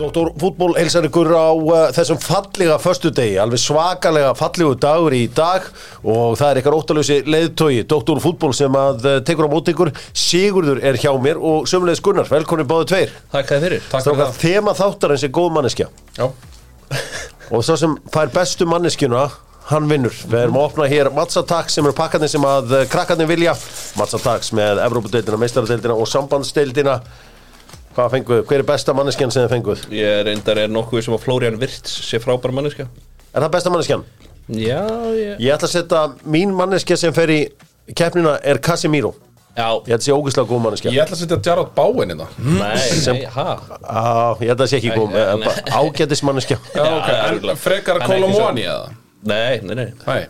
Dóttor fútból heilsar ykkur á uh, þessum fallega förstu degi, alveg svakalega fallegu dagur í dag og það er ykkar óttalösi leiðtogi, Dóttor fútból sem að uh, tekur á móti ykkur, Sigurður er hjá mér og sömulegis Gunnar, velkomin báðu tveir. Takk að fyrir Takk Strákar, þema þáttarins er góð manneskja Já og sá sem fær bestu manneskjuna, hann vinnur. Við erum að opna hér Matsatax sem eru pakkarnir sem að uh, krakkarnir vilja, Matsatax með Evrópadeildina, Meistaradeildina og Sambandsdeildina. Hvað fenguð, hver er besta manneskjan sem þið fenguð? Ég reyndar er nokkuð sem að Florian Virts sé frábær manneskja Er það besta manneskjan? Já, ég Ég ætla að setja mín manneskja sem fer í keppnina er Casemiro Ég Já, ætla að sé ógæslega góð manneskja Ég ætla að setja Jarrod Báinn hérna. innan nei, nei, ha Á, Ég ætla að sé ekki góð eh, Nei, nei. ágætis manneskja Já, ok, það er en örugglega. frekar Hann er ekki Kolomóni eða? Nei, nei, nei Nei,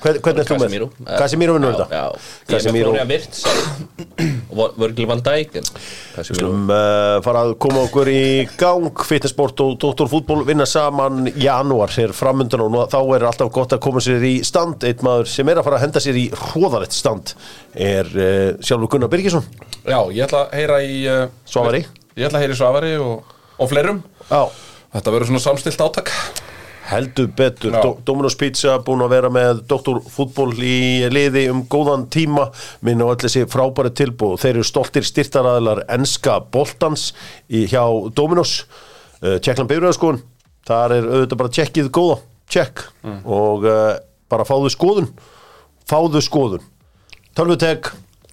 Hvern, Hvernig ert þú með? Casemiro. Eh, Casemiro vinnur Já, þetta Ég er með Casemiro Florian Virts Og Vörgli Van Dijk en Casemiro um, uh, fara að koma okkur í gang fitnessport og doktorfútból vinna saman í janúar er framundan og nú- þá er alltaf gott að koma sér í stand eitt maður sem er að fara að henda sér í hróðarett stand er uh, sjálfur Gunnar Birgisson já, ég ætla að heyra í uh, Svavari. Ég ætla að heyra í Svavari og, og fleirum Já Þetta verður svona samstilt átak Heldur betur, Já. Do Dominos Pizza búin að vera með Dr. Fútból í liði um góðan tíma minn og allir þessi frábæri tilbúð þeir eru stoltir styrtaraðilar enska boltans í, hjá Dominos uh, Tjekkland Bifræðarskóðun þar er auðvitað bara tjekkið góða tjekk og uh, bara fáðu skoðun fáðu skoðun Tölvutek,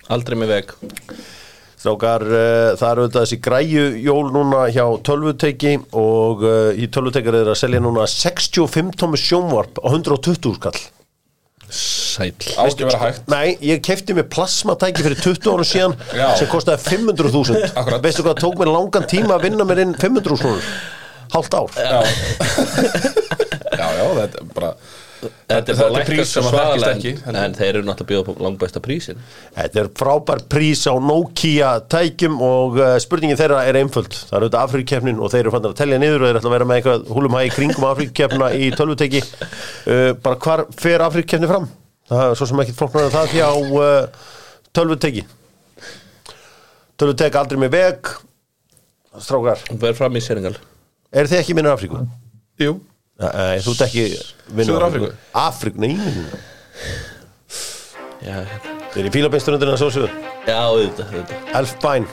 Aldrei með veg Strákar, uh, það eru auðvitað þessi græju jól núna hjá tölvuteki og uh, í tölvutekar er að selja núna 65 tómi sjónvarp á 120 skall. Sæll Á ekki að vera hægt Nei, ég kefti mér plasmatæki fyrir 20 ára síðan Já. sem kostaði 500.000. Akkurat. Veistu hvað, tók mér langan tíma að vinna mér inn 500 krónur. Hálft ár. Já, já, já þetta er bara Þetta er þetta bara er prís lækkar sem sem að þekkist hraðla ekki, en, heldur. en þeir eru náttúrulega að bjóða upp á langbæsta prísin Þetta er frábær prís á Nokia tækjum og uh, spurningin þeirra er einföld. Það eru auðvitað Afríkkeppnin og þeir eru fannir að telja niður og þeir ætla að vera með eitthvað húlumhæ í kringum Afríkkeppna í tölvuteki. Uh, bara hvar fer Afríkkeppni fram? Það er svo sem ekkert flóknar en það því á uh, tölvuteki. Tölvutek aldrei með veg. Strákar, Verð fram í seringal eru þið ekki minnir Afríku? Jú, Nei, eh, þú ert ekki minnir Suður-Afríku? Afríku, nei, nei. Já, Þeir eru í Fílabinsturundurinn að svo sögur. já, auðvitað, auðvitað Elfbæn.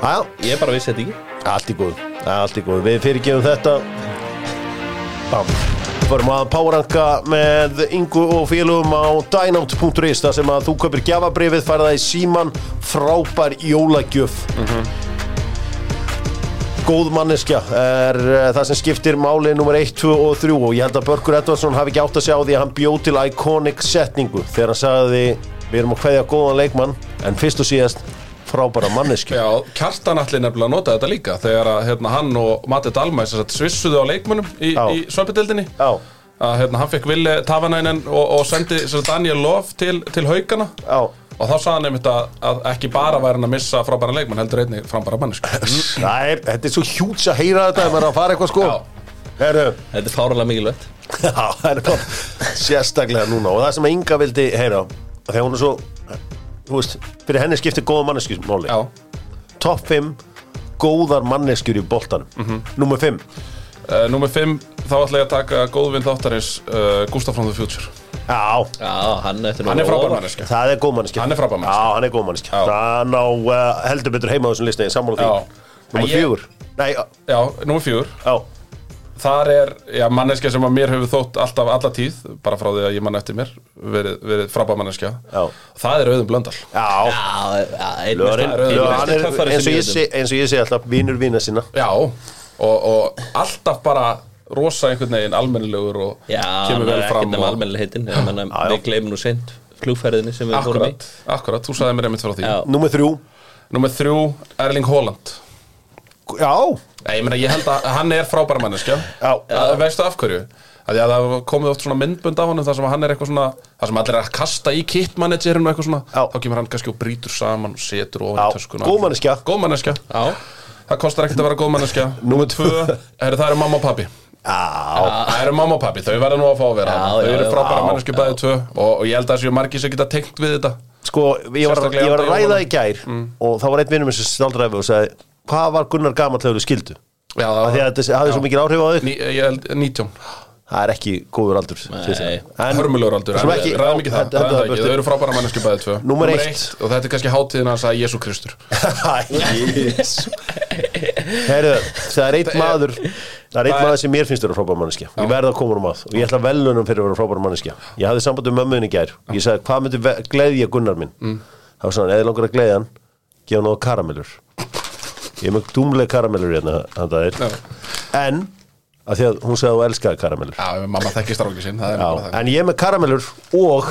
Æja, Ég bara vissi þetta ekki Allt í góðu, allt í góðu, við fyrirgefum þetta Bam Förum að páranka með Ingu og félugum á dynout.is þar sem að þú kaupir gjafabrifið, færða í síman frábær jólagjöf Mhm. Góð manneskja er uh, það sem skiptir máli nummer 1, 2 og 3 og ég held að Börkur Edvardsson hafi ekki átt að sjá því að hann bjó til iconic setningu þegar hann sagði við erum að kveðja góðan leikmann en fyrst og síðast frábæra manneskju já, Kjartan allir nefnilega notaði þetta líka þegar að hérna, hann og Matti Dalmæs sem sagt svissuðu á leikmunum í, Já. í svömpidildinni Já, að hérna, hann fekk Ville Tavanænen og, og sendi sem sagt, Daniel Love til, til haugana já og þá sagði hann einmitt að, að ekki bara væri hann að missa frábæra leikmann heldur einnig frábæra Mm. mannesku Það er, þetta er svo hjúts að heyra þetta ef maður er að fara eitthvað sko Já. Herru, Þetta er fáralega mikilvægt já, það er bara sérstaklega núna og það sem að Inga vildi heyra þegar hún er svo, þú veist fyrir henni skiptir góða manneskjur máli Já, Top 5 góðar manneskjur í boltanum mm -hmm. Númer 5 uh, nummer 5 þá ætla ég að taka góðvinn þáttarins uh, Gustaf from the Future Já, Já, hann eftir Hann er frábær manneskja það er góð manneskja Hann er frábær manneskja. Já, hann er góð manneskja Já. Hann á uh, heldur betur heima á þessum listi, ég er sammála því Já. Númer En ég- 4 Nei, já, Já, nummer 4 já, Þar er já, manneskja sem að mér hefur þótt alltaf alla tíð bara frá því að ég mann eftir mér verið, verið frábæra manneskja Já. Það er auðum blöndal já Lörin, það er auðvitað. hann er, Töffari eins, og sem ég ég veit um. sé, eins og ég sé alltaf vinur vina sinna Já, og, og alltaf bara rosa einhvern veginn almennilegur og Já, hann er kemur vel ekkert um fram nema og, almennileg heitin já. Við gleymum nú seint flugferðinni sem við fórum í Akkurat, akkurat, þú sagði mér einmitt frá því Já. Númer 3 Númer þrjú, Erling Haaland Já, Nei, ég meina, ég held að hann er frábær manneskja Já. Að- Veistu af hverju? Af því að það hafa komið oft svona myndbönd af honum þar sem hann er eitthvað svona þar sem allir er að kasta í kitmanagerinu eitthvað svona Já. Þá kemur hann kannski og brýtur saman og setur ofan Já, í töskuna góð manneskja. Góð manneskja Já, Það kostar ekkert að vera góð manneskja Númer tvö, er, það eru mamma og pappi já, Það eru mamma og pappi, þau verða nú að fá að vera Já, þarna. Þau já, eru já, frábæra já, manneskju bæði tvö og, og ég held að það séu margir sem geta tengt við þetta sko, ég var, Sérstaklega Mm. ég var að á ræða jólunum. í gær og þá var einn vinnum sem staldraði við og sagði hvað var Gunnar gamall þegar þau skildu? Já, það Af Því að þetta hafði svo mikil áhrif á þig Ný, ég held 19 Það er ekki góður aldur til Nei. þess. En- Hörmulegur aldur, Svo ekki- ræðum ekki það, Þetta- ræðum það þetta- ekki. Þau eru frábæra manneski bæði tvö Númer eitt. Og þetta er kannski hátíðin hans að Jésu Kristur Herðu, það er einn maður Það er einn maður sem mér finnst vera frábær manneskja Ég verð að koma um að og ég ætla velunum fyrir að vera frábær manneskja Ég hafði samband um mömmuðin í gær Ég sagði, hvað myndi ve- gleðja Gunnar minn? Það var svona, eða langar að gleðja hann gefa hann á karamellur Ég er með dúmleg karamellur hérna handa þér. En, af því að hún sagði að hún elskaði karamellur Já, ef mamma þekkir stráki sinn Það er bara Já, en ég er með karamellur og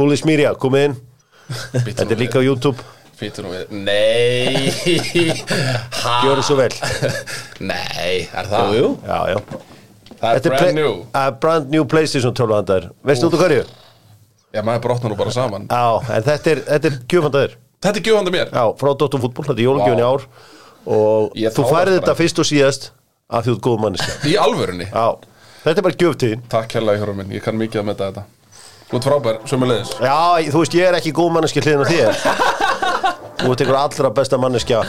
Búli Smýrja, komið inn það Bíddu Þetta nú er líka á YouTube, við- Bíddu nú við Nei Ha? gjöru svo vel Nei, er það? Jú, jú. Já, já Það er Þetta er brand play- new að brand new Playstation 12 handar Veistu út og hverju? Já, maður brotnar nú bara saman Já, en þetta er, þetta er gjöfandaður Þetta er gjöfandi mér Já, frá Dóttum fútból, þetta er jólgjöfn í ár Og Ég þú tárast færið bara. þetta fyrst og síðast af því þú ert góð manneskja Í alvörunni Já, þetta er bara gjöftíðin Takk hérlega, Hjörður minn, ég kann mikið að metta þetta Þú ert frábær, sömulegis Já, þú veist, ég er ekki góð manneskja hliðin á þér Þú ert ykkur allra besta manneskja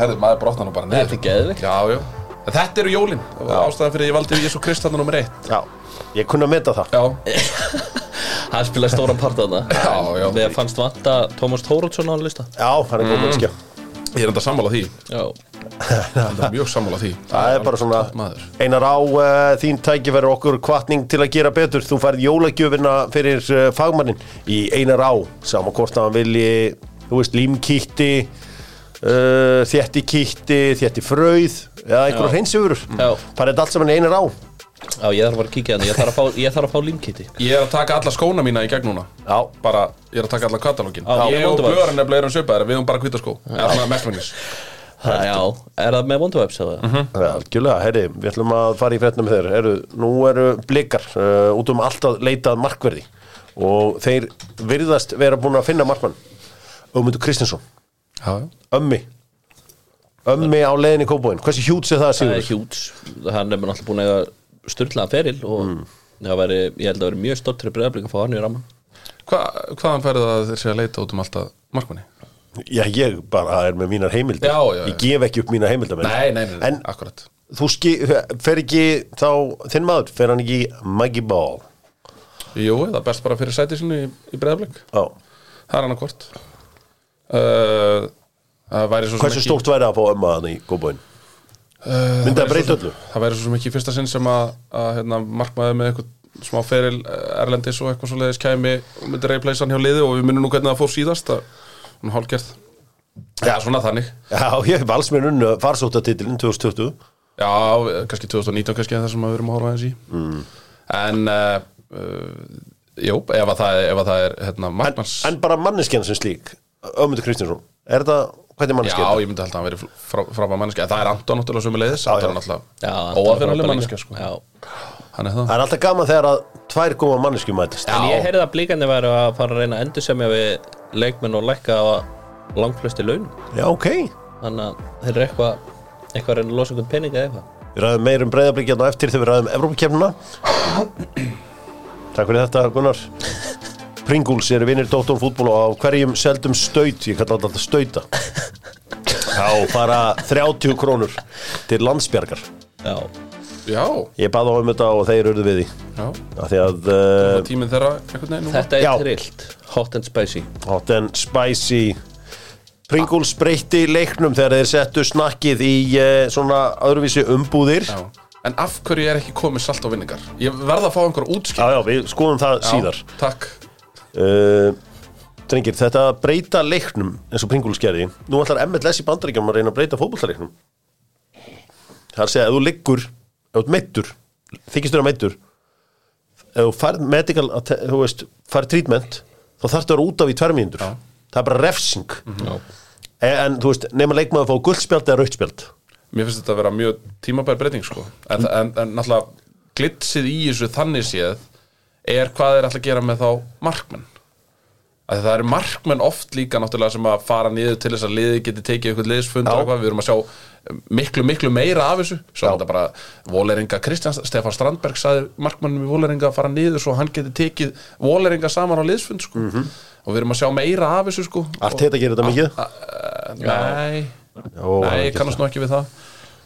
Herðu, maður brotnar nú bara niður Þetta er geðveikt. Já, já En Þetta eru jólin Það var Ástæðan fyrir að ég valdi Jésu Krist hann nummer eitt Já, ég kunna að meta það Já, hann spilaði stóran part þarna Já, já. Þegar fannst vanta Tómas Tórótsson á hann lista Já, hann Mm. er góð manneskja ég er enda sammála því Já, Enda mjög sammála því Það er bara svona Topp maður. Einar á uh, þín tækifæri okkur kvartning til að gera betur Þú færð jólagjöfina fyrir uh, fagmannin í Einar á Sama hvort að hann vilji, þú veist, límkýtti uh, Þétti kýtti, þétti frauð Eða einhverjum Já. hreinsjöfur Já. Færði þetta allt saman í Einar á já ég þarf að fara að kíkja hann Ég þarf að fá, ég þarf að fá límkitti Ég er að taka alla skóna mína í gegn núna Já. Bara, ég er að taka alla katalógin Já, Ég með og Wonderworld. blöðurinn er blöðurinn söpaðar Við höfum bara hvita skó Það er svona mestmennis Já, er það með Wonderwebs eða? Mhm. Algjörlega, herri, við ætlum að fara í frétnum þeir Heru, Nú eru blikar uh, út um allt að leitað markverði Og þeir virðast vera búin að finna markmann Ömundur Kristinsson Já, ömmi ömmi á leiðinni í kópóin hversu hjúts er það Það er Sigur? hjúts, hann er náttúrulega búin að eiga styrlaðan feril og Mm. það væri, ég held að veri mjög stoltur í breyðablík að fá hann í ramman Hva, hvaðan færðu það að þeir sé að leita út um alltaf markmanni? já ég bara er með mínar heimildar Já, já, já. ég gef ekki upp mínar heimildar menn. Nei, nei, nei, nei. en akkurat þú ski, fer ekki þá þinn maður, fer hann ekki í Maggie Ball Jú, það er best bara fyrir sæti sinu í, í breðablik já. Það er hann að hvort uh, Það væri svo sem hversu ekki- stórt væri að fá ömma hann í kópóin Uh, Myndi það væri breyta svo- öllu? Það væri svo sem ekki í fyrsta sinn sem að, að hérna, markmaður með eitthvað smá feril eh, erlendis og eitthvað svo leiðis kæmi og myndi repleysa hann hjá liði og við munum nú hvernig það fór síðast að hún hálgerð Já, svona þannig já, ég hef alls mér unnu farsóttatitilin 2020 Já, eh, kannski 2019 kannski en það sem við erum að horfa aðeins í mm. En uh, uh, Jú, ef að það er, ef að það er hérna, en, markmanns en bara manneskjan sem slík ömmundur Kristinsson, er það hvernig Já, manneskjan? ég myndi held að hann veri frábæð frá manneskja En það er Anton náttúrulega sem er leiðis Já, já. Anton er Já, náttúrulega Anton er óafinnileg frábær manneskja líka. sko. Já. Hann er það það er alltaf gaman þegar að tvær góma manneskjum mætist En ég heyrði að blíkandi væri að fara að reyna að endursemja við leikmenn og lækka á langflösti laun já, ok Þannig að þeir eru eitthvað eitthvað að reyna að losa einhvern pening eða eitthvað Við ræðum meir um breyðablíkja á eftir þegar við ræðum Evrópakefnuna Takk fyrir þetta Gunnar Pringles eru vinnir Dóttón fútból og á hverjum seldum staut, ég kalla þetta alltaf stauta þá fara 30 krónur til landsbjargar Já, Já, Ég bað á um þetta og þeir urðu við því já af því að uh, Og tíminn þeirra einhvern veginn núna þetta er Já. trillt Hot and spicy hot and spicy Pringles breytti leiknum þegar þeir settu snakkið í uh, svona öðruvísi umbúðir Já. En af hverju er ekki komið salt á vinningar? Ég verða að fá einhver útskip Já, já, við skoðum það síðar Takk uh, drengir, þetta að breyta leiknum eins og Pringles gerði, nú ætlar MLS í bandaríkjum að reyna að breyta fótballtaleiknum það er að segja, ef þú liggur ef þú ert meittur, þykist þú vera meittur ef þú færð medical, att- þú veist, færð treatment þá þarftu að vera út af í tvær mínútur það er bara refsing Mhm. Já. en, en þú veist, nema leikmaður að fá guldspjald eða rautspjald Mér finnst þetta að vera mjög tímabær breyting sko. en, en, en náttúrulega glitsið í þessu þannig séð er hvað þeir ætla að gera með þá markmenn að það eru markmenn oft líka náttúrulega sem að fara niður til þess að liði geti tekið eitthvað liðsfund og Já. eitthvað, við erum að sjá miklu, miklu meira af þessu svo er þetta bara Voleringa Kristján Stefán Strandberg saði markmannum í Voleringa að fara niður svo hann geti tekið Voleringa saman á liðsfund sko. og við erum að sjá meira af þessu sko. Arteta gerir þetta mikið Uh, nei Ó, hann Nei, er ég ekki kannast nú ekki við það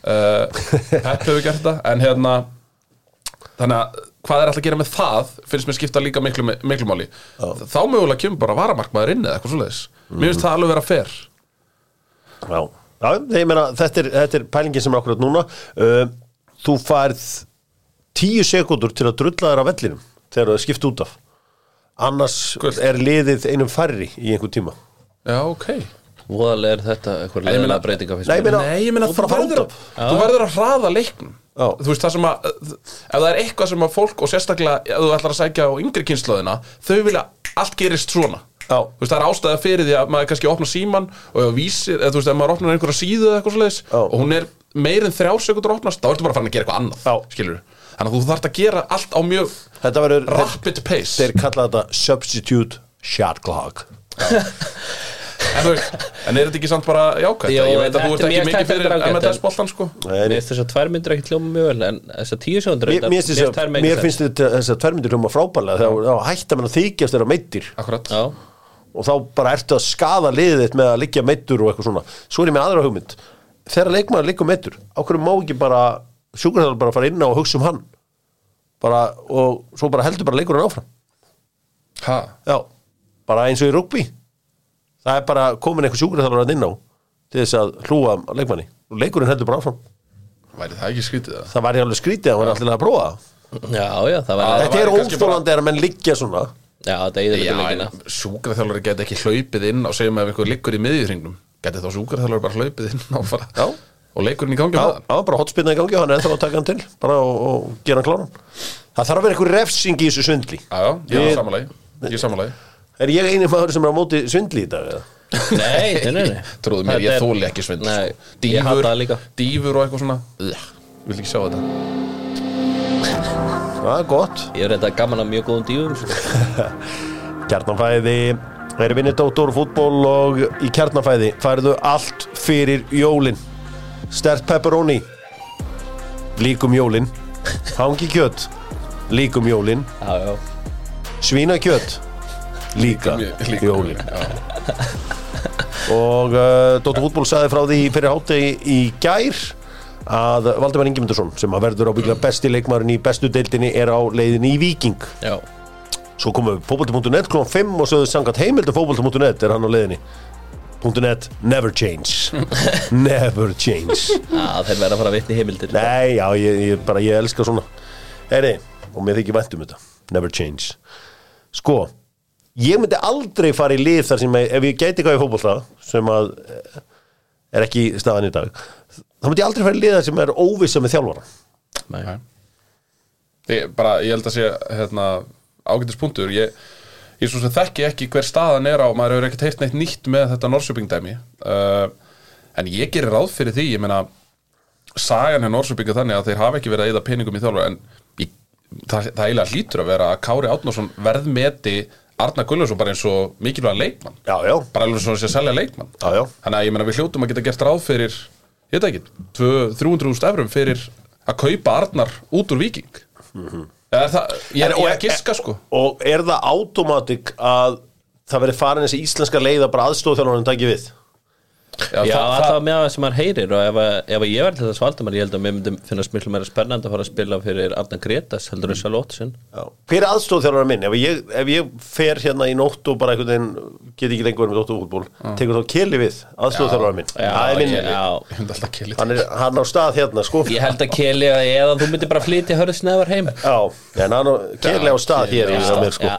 uh, Pep hefur gert þetta En hérna Þannig að hvað er alltaf að gera með það Finnst mér skipta líka miklu, miklu máli Þá mögulega kemur bara varamarkmaður inn Eða eitthvað svoleiðis Mér Mhm. finnst það alveg vera fer Já, já ég meina, þetta er, þetta er pælingin sem er akkurat núna uh, Þú færð tíu sekundur til að drulla þér af vellinum þegar það er skipt út af annars Gult. er liðið einum færri í einhver tíma Já, ok Voðalega er þetta eitthvað ég meina- leðilega breytinga finnst Nei, mér. ég meina- Nei, ég meina þú þú bara fara verður, út af. þú verður að hraða leiknum Já. Þú veist það sem að Ef það er eitthvað sem að fólk og sérstaklega Ef þú ætlar að sækja á yngri kynslaðina Þau vilja að allt gerist svona Já. Þú veist það er ástæða fyrir því að maður kannski opna síman Og ef vísir, eða þú veist ef maður opnar einhverja síðu eða eitthvað svoleiðis Já. Og hún er meir en þrjár sekundur opnast Þá ertu bara farin að gera eitthvað annað Já. skilurðu. Þannig að þú þarft að gera allt á mjög Þetta verður, þeir, rapid pace þeir kalla þetta substitute shot clock en, þú veist, en er þetta ekki samt bara jákvæmt? Jó, Ég veit að þetta þú ert er ekki mjög mikið tæpt, þetta fyrir er ágætt, en- MLS-boltan sko Mér finnst þess að tvær myndir ekki hljóma mjög vel En þess að tíu sekundur Mér, mér, finnst þess að- mér finnst þetta þess að tværmyndir hljóma frábælega þá, þá hætta menn að þykjast þeirra meittir Akkurat Já, og þá bara ertu að skada liðið þitt með að liggja meittur og eitthvað svona svo er ég með aðra hugmynd þegar leikmaður liggur meittur, á hverju má ekki bara sjúkurþjálfur bara fara inn á og hugsa um hann bara, og svo bara heldur bara leikurinn áfram Ha? já, bara eins og í rugby það er bara komin einhver sjúkurþjálfur að inn á til þess að hlúa að leikmanni og leikurinn heldur bara áfram Væri það ekki skrítið það? það var ég alveg skrítið að hann var allir að prófa það. já, já, það var Já, þetta væri er kannski bara- óstólandi er að menn liggja svona Já, þetta eða Já, litur en leikina sjúkraþjálfari geti ekki hlaupið inn og segjum að ef einhver liggur í miðjurringnum geti þá sjúkraþjálfari bara hlaupið inn og, fara, Já. og leikurinn í gangi Já, með hann það var bara hotspinna í gangi og hann er ennþá að taka hann til bara og, og gera hann kláran Það þarf að vera einhver refsing í þessu svindli Já, já, ég Ég- er samanlagi Ég er samanlagi Er ég eini maður sem er á móti svindli í dag? eða? Nei, nei, nei, nei. Trúðu mér, Þetta ég er- þóli ekki svindl Nei, sko. ég hata það líka dýfur og eitthvað svona Ugh, Vil ekki sjá þetta Það er gott Ég er reynda gaman að mjög góðum dífum sko. Kjarnanfæði er vinnið dóttor fútból og í kjarnanfæði færðu allt fyrir jólin Stert pepperoni Líkum jólin Hangi kjött Líkum jólin Já, já Svínakjött Líka Líkum jö- líkum jólin Og uh, Dóttur Fútból sagði frá því fyrir hátegi í gær að Valdimar Ingemundarsson sem að verður ábygglega besti leikmarin í bestu deildinni er á leiðinni í Víking Já, Svo komum við fótbolti.net klón 5 og sögðu sangat heimildu fótbolti.net er hann á leiðinni .net, never change Never change Á, þeir verða að fara að vitni heimildir Nei, já, ég, ég, bara ég elska svona Heyri, og mér þykir vænt um þetta Never change Sko, ég myndi aldrei fara í lið þar sem að, ef ég gæti hvað í fótbolta sem að eh, er ekki staðan í dag þá myndi ég aldrei fara í lið þar sem er óvissa með þjálfara Nei. Nei. Ég, bara, ég held að sé hérna, ágætis punktur ég, ég svo sem þekki ekki hver staðan er á maður hefur ekkert heilt neitt nýtt með þetta Norsjöping dæmi uh, en ég gerir ráð fyrir því ég meina sagan er Norsjöping þannig að þeir hafa ekki verið að eða peningum í þjálfur en ég, það, það eiginlega hlýtur að vera að Kári Átnarsson verðmeti Arna Gullarsson bara eins og mikilvæg leikmann Já, já, bara alveg svo að sé að selja leikmann já, já Þannig að ég meina við hljótum að geta gert ráð fyrir ég veit ekki, tvö- 300.000 evrum fyrir að kaupa Arnar út úr Viking Eða er það, ég er Mhm. En- og- e- ég er að giska sko Og er það automatik að það veri farin þessi íslenska leið að bara aðstóð þjálfarinn taki við Já, það- alltaf það- með það sem maður heyrir og ef, að- ef að ég verði til þess valdumar ég held að mér myndum finnast miklu meira spennandi að fara að spila fyrir Arna Gretas heldur þess að lótsinn Já. Hver er aðstofþjálfara minn? Ef ég, ef ég fer hérna í nótt og bara einhvern veginn get ekki lengur með nótt og fútból tekur þá keli við aðstofþjálfara minn Það er minn já, Ég myndi alltaf keli hann, er, hann á stað hérna sko Ég held að Keli að eða þú myndir bara flytja hörðu snefar heim Já, en hann á- keli á stað hér í mér sko Já.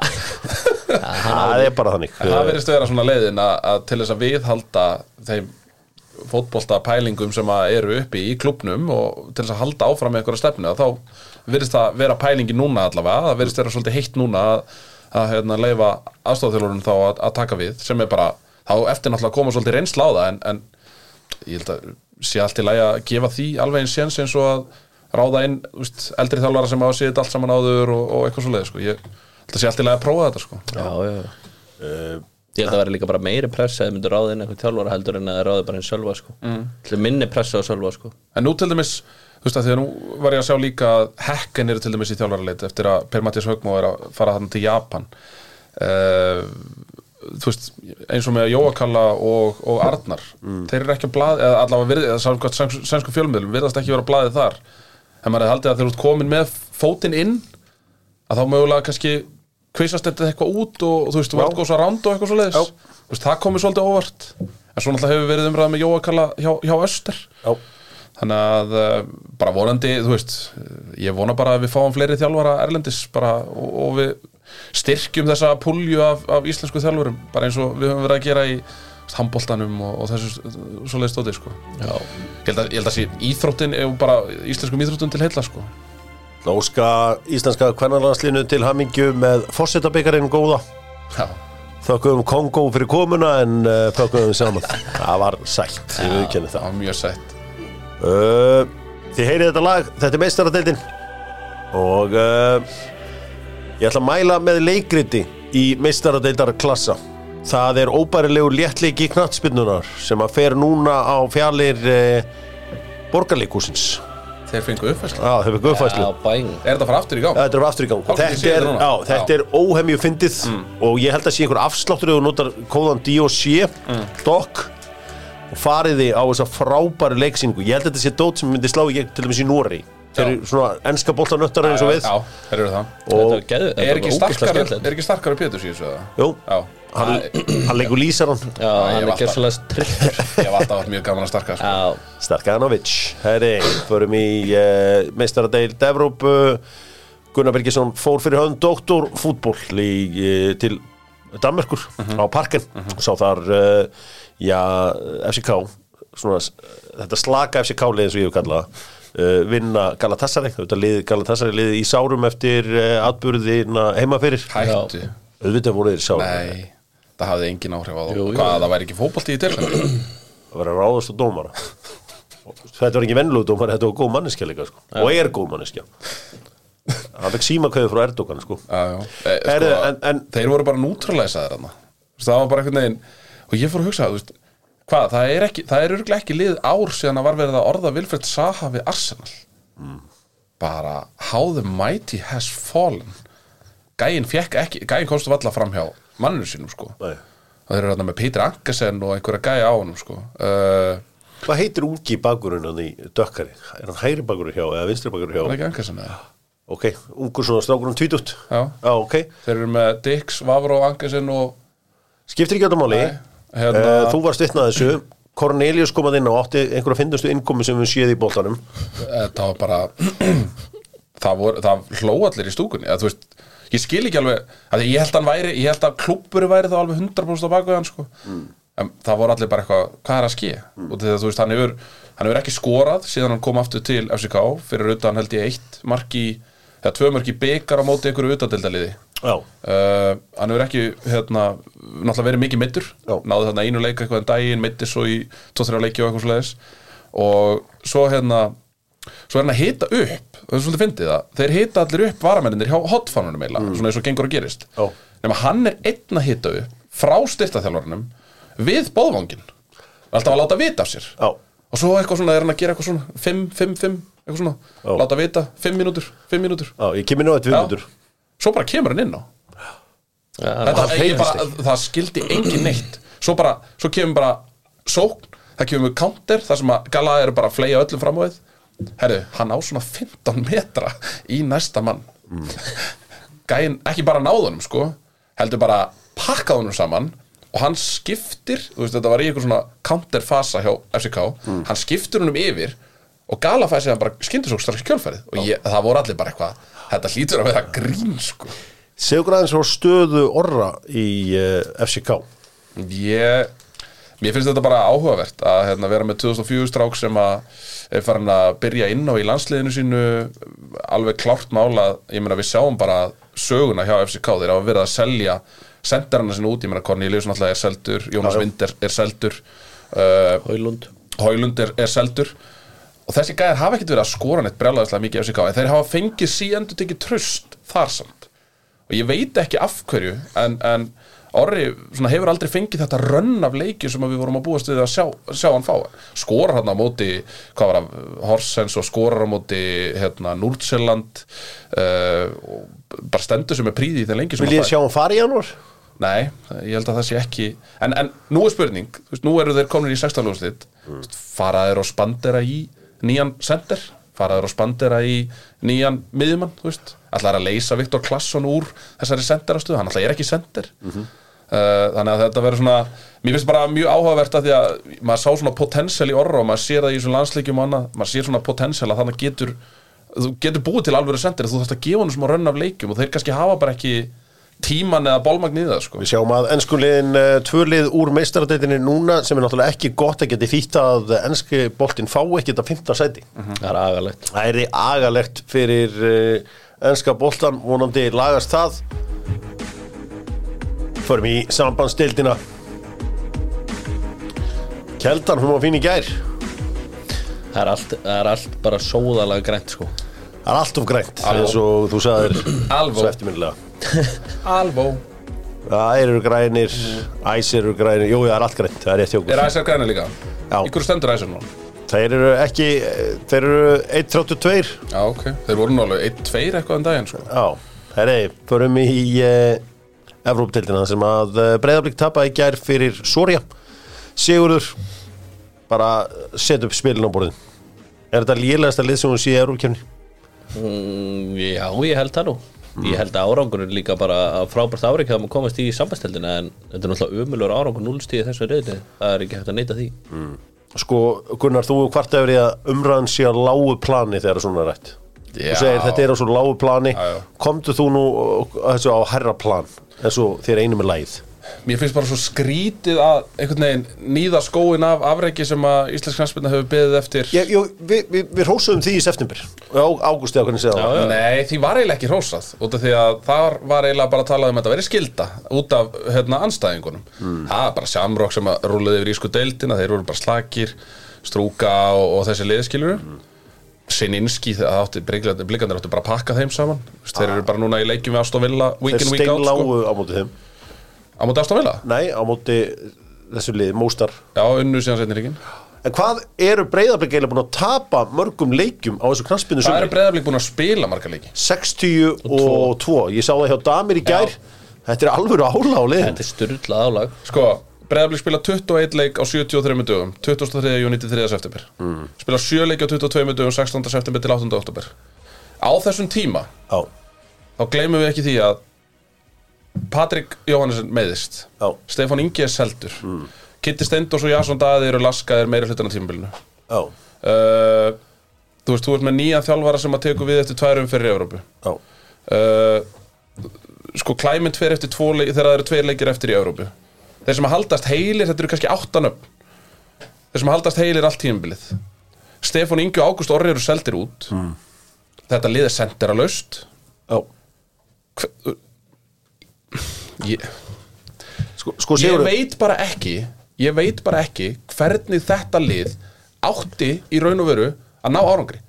Það er bara þannig Eh, Það verðist að vera svona leiðin að, að til þess að viðhalda þeim fótbolta pælingum sem að eru uppi í klubnum og til þess að halda áfram með einhverja stefnu að þá verðist það vera pælingi núna allavega, það verðist vera svolítið heitt núna að, að hérna, leifa aðstofþjólurinn þá að, að taka við sem er bara, þá eftir náttúrulega að koma svolítið reynsla á það en, en ég held að sé allt í lagi að gefa því alveg eins séns eins og að ráða inn úst, eldri þjálfara sem hafa séð þetta allt saman áður og, og eitthvað svoleiði sko. ég held að sé allt í lagi að prófa þetta sko. já, já. Ég held að vera líka bara meiri pressa eða myndir ráðið inn eitthvað tjálfara heldur en að það ráðið bara einn sölva sko. mm. minni pressa á sölva sko. En nú til dæmis, þú veist að því að nú var ég að sjá líka að hekkan eru til dæmis í þjálfaraleit eftir að Per Mattias Haugmó er að fara þarna til Japan uh, Eh, Þú veist, eins og með Jóakalla og, og Arnar þeir eru ekki að blaði, eða allavega virði, eða samkvæmt sæns- sænsku fjölmiðlum, virðast ekki vera blaðið þar en maður hefði haldið að þeir eru komin með fótinn inn að þá mögulega kannski kvisast þetta eitthvað út og, þú veist, vart góðs að ránd og eitthvað svo leiðis veist, það komið svolítið óvart en svo náttúrulega hefur verið umræða með Jóakalla hjá, hjá Öster Já, þannig að eh, bara vonandi, þú veist eh, ég vona bara að við fáum fleiri þjálfara erlendis bara og, og við styrkjum þessa pulju af, af íslensku þjálfurum bara eins og við höfum verið að gera í handbóltanum og, og þessu svoleiði stóti sko. Já. ég held að, ég held að sé íþróttin ef bara íslenskum íþróttum til heilla sko. Nóska íslenska kvennarlandslinu til hamingju með fósittabikarin góða. já, Þökkum Kongó fyrir komuna en uh, þökkum við saman. Það var sætt, ég viðkennir það það. var mjög sætt Uh, þið heyrið þetta lag, þetta er meistaradeildin og uh, ég ætla að mæla með leikriti í meistaradeildar klassa. Það er óbærilegu léttleiki knattspinnunar sem að fer núna á fjalir uh, borgarleikúsins. þeir fengu uppfærsla Já, þau fyrir Sko. guðfæslu. Já, bæn er þetta að fara aftur í gang? Þetta er aftur í gang Þá getur Þetta séð er, þetta núna. á, þetta Já. Mm. er óhemju fyndið og ég held að sé einhver afsláttur ef þú notar kóðan D.O.C. Mm. DOC og fariði á þessa frábæru leiksýningu ég held að þetta sé dót sem myndi slá í gegn til dæmis í Nóri þeir eru svona enska boltanöttar eins og við já, þeir eru það Þetta og var geðu, þetta er ekki, var ógeðslega starkari, skemmtilegt er ekki starkari Pétur síðan svo jú, það? já, hann, hann leikur lýsaran Já, ég hann var er gerðslega trillur ég hef alltaf vært mjög gaman að starka sko. Já, Starkanovic Herri, förum í uh, meistaradeild Evrópu Gunnar Birgisson fór fyrir höfn doktorfútból í, uh, til Danmerkur á parkinn og sá þar uh, já, FCK svona, s- þetta slaka FCK liðið eins og ég hef kallað uh, vinna Galatasaray þetta lið, Galatasaray liðið í sárum eftir uh, atburðina heima fyrir hættu auðvitað voru þeir í sárum Nei, það hafði engin áhrif á Jú, þú jú. Hvað, það væri ekki fótbolti í deildinni? að vera ráðast á dómara þetta var ekki vennlug dómara, þetta var góð manneskja líka sko. og er góð manneskja hann fekk símakauði frá Erdogan sko. Já, já. Eh, sko, Herðu, en- en- Þeir voru bara neutralæsaðir hann Það var bara einhvern veginn Og ég fór að hugsa, þú veist Hvað, það er, ekki, það er örgulega ekki liðið ár síðan að var verið að orða Vilfred Saha við Arsenal Bara How the mighty has fallen Gæinn fekk ekki Gæinn komst valla fram hjá manninu sínum sko Nei. Og þeir eru þarna með Peter Ankersen og einhverja gæja á honum sko uh, hvað heitir ungi bakurinn hann í dökkari er hann hægri bakurinn hjá eða vinstri bakurinn Var hjá ekki Ankersen eða? ok, ungur svona strákurinn tvítut Já. ok, Þeir eru með Dix, Vavró, Ankersen og skiptir ekki öllum máli Nei, hérna- Eh, þú varst vitnað þessu Cornelius komað inn og átti einhverja finnustu innkomi sem við séð í boltanum þetta Eh, var bara það, voru, það hló allir í stúkunni að, veist, ég skil ekki alveg að ég held, hann væri, ég held að klúppur væri þá alveg 100% á baku hann sko. en það voru allir bara eitthvað, hvað er að ske mm. og þegar, þú veist, hann hefur, hann hefur ekki skorað síðan hann kom aftur til FCK fyrir utan held ég eitt marki eða tvö mörki byggar á móti einhverju utadildaliði já, Uh, hann hefur ekki hérna, náttúrulega verið mikið meittur Já. náði þarna einu leik eitthvað en daginn meittir svo í 2-3 leiki og eitthvað svoleiðis og svo hérna svo er hann að hita upp það er svolítið fyndið það, þeir hita allir upp varamennir hjá hotfanunum eiginlega, svona eins og gengur að gerist Mm. Já. nema hann er einn að hita upp frá styrtaþjálfarnum við bóðvangin alltaf að láta vita af sér já, og svo eitthvað svona er hann að gera eitthvað svona 5, 5, 5, eitthvað svona Já. láta vita, 5 mínútur, 5 mínútur já, ég kemur nú eitt viðmyndur svo bara kemur hann inn á já, þetta, það ég hreyfist bara, það skildi engin neitt svo bara, svo kemur bara sókn, það kemur counter þar sem að Gala er bara að fleja öllum fram á við herru, hann á svona 15 metra í næsta mann gæinn, ekki bara náðunum sko, heldur bara pakkaðunum saman og hann skiptir þú veist, þetta var í einhver svona counter fasa hjá FCK, hann skiptir húnum yfir og Gala fæði sér hann bara skyndur svo strax í kjölfærið og ég, það voru allir bara eitthvað þetta hlýtur að vera grín sko segur græðins frá stöðu orra í uh, FCK Ég, mér finnst þetta bara áhugavert að hérna, vera með 2004 strák sem að er farin að byrja inn á í landsliðinu sínu alveg klárt mála, ég meina við sjáum bara söguna hjá FCK, þeir hafa verið að selja sendarana sínu út, ég meina Cornelius náttúrulega er seldur, Jónas Vind er, er seldur uh, Hólund Haulund er, er seldur og þessi gæðar hafa ekkert verið að skora neitt brjálæðislega mikið í FCK en þeir hafa fengið síendur tekið tröst þar samt og ég veit ekki af hverju en, en Orri svona, hefur aldrei fengið þetta rönn af leikju sem að við vorum að búast við að sjá, sjá hann fá skorar hann á móti hvað var af Horsens og skorar á móti hérna, Núrtsjöland uh, og bara stendur sem er príði í þeim leikju sem vil hann ég fær. sjá hann fara í janúar? Nei, ég held að það sé ekki En, en nú er spurning, þú veist, nú eru þeir komnir í 16 lúslit mm. Fara þeir og spandera í nýjan sender Fara þeir og spandera í nýjan miðjumann, þú veist Ætlar að leysa Viktor Klasson úr þessari senderastuð Hann ætlar er ekki sender uh, Þannig að þetta verður svona Mér finnst bara mjög áhugavert að því að Maður sá svona potential í orra og maður sér það í þessum landsleikjum og annað Maður sér svona potential að þannig getur Þú getur búið til alvöru sender Þú þarft að gefa hann smá rönn af leikjum og þeir kannski hafa bara ekki tíman eða bólmagn í það sko. Við sjáum að enskulegin uh, tvölið úr meistaradeitinu núna sem er náttúrulega ekki gott að geti þýtt að enski boltinn fá ekki þetta 15 sæti. Mhm. það er agalegt Það er agalegt fyrir uh, enska boltan, vonandi lagast það. Förum í sambandsdeildina. Keldan, hún var fín í gær. það er allt, það er allt bara sóðalega grænt sko Það er allt of grænt, Alvó. eins og þú sagðir Alvó. svo eftirminnilega. Alvó Það eru grænir, æs eru grænir, jú, það er allt grænt, það er rétt hjá okkur. Mhm. Er æsar græna líka? Já. Í hverju stendur æsar núna? Þeir eru ekki, þeir eru 1.32 Já, ok Þeir voru nú alveg 1-2 eitthvað um daginn sko. Já, herri, förum í uh, Evróptildina sem að uh, breyðablík tapa í gær fyrir Soria Sigurður bara set upp spilin á borðin Er þetta lélægasta lið sem hún sé í Evrópkefni? Mm, Já, ég held það nú Ég held að árangurinn líka bara að frábært árið að maður komast í sambandsteltina en þetta er náttúrulega umulur árangur núlstíði þessu reyði það er ekki hægt að neyta því Sko, Gunnar, þú hvart efri að umræðan sé á lágu plani þegar svona er rætt Já. Þú segir þetta er á svo lágu plani Já, já. Komdu þú nú uh, þessu á herra plan eins og þér einum er lægð Mér finnst bara svo skrítið að einhvern veginn nýða skóin af afreiki sem að Íslensk knarspilna hefur beðið eftir Ég, ég, við, við, við rósuðum því í september Ágústi á hvernig segja það Já, já. Nei, því var eiginlega ekki rósað út af því að þar var eiginlega bara að tala um að þetta verið skilda út af hérna anstæðingunum það er bara samrokk sem að rúlaði yfir ísku deildina þeir voru bara slakir, strúka og, og þessi liðskilur mm. Sininski, það átti blikandir áttu bara að pakka þeim saman Þú veist, þeir eru bara núna í leikjum við Aston Villa week Þeir in, week out steinlágu sko. á móti þeim á móti Aston Villa, Nei, á móti þessu liði, Móstar já, unnu síðan setni ríkin En hvað eru breyðarblik eiginlega búin að tapa mörgum leikjum á þessu knaspinu Það sumri? eru breyðaflik búin að spila marga leiki 62 Ég sá það hjá Damir í gær Þetta er alvöru ála á liðin Þetta er styrlað álag Sko, Breiðablík spila 21 leik á 73 dögum 23. júni til 3. september Spila 7 leik á 22 dögum 16. september til 8. oktober Á þessum tíma, Já, þá gleymum við ekki því að Patrik Jóhannesson meðist já, Stefán Ingi er seldur mm. Kitty Steindors og Jason Daði eru laskaðir meira hlutana tímabilinu já, uh, Þú veist, þú ert með nýjan þjálfara sem að teku við eftir tværum fyrir Evrópu já uh, sko klæmynd fer eftir tvo leik, þegar það eru tveir leikir eftir í Európu þeir sem að haldast heilir, þetta eru kannski áttan upp þeir sem að haldast heilir allt tímabilið Stefán Ingi og Ágúst Orri eru seldir út þetta lið er sendera laust Já, ég, sko, sko ég Sigurður veit bara ekki ég veit bara ekki hvernig þetta lið átti í raun og veru að ná árangri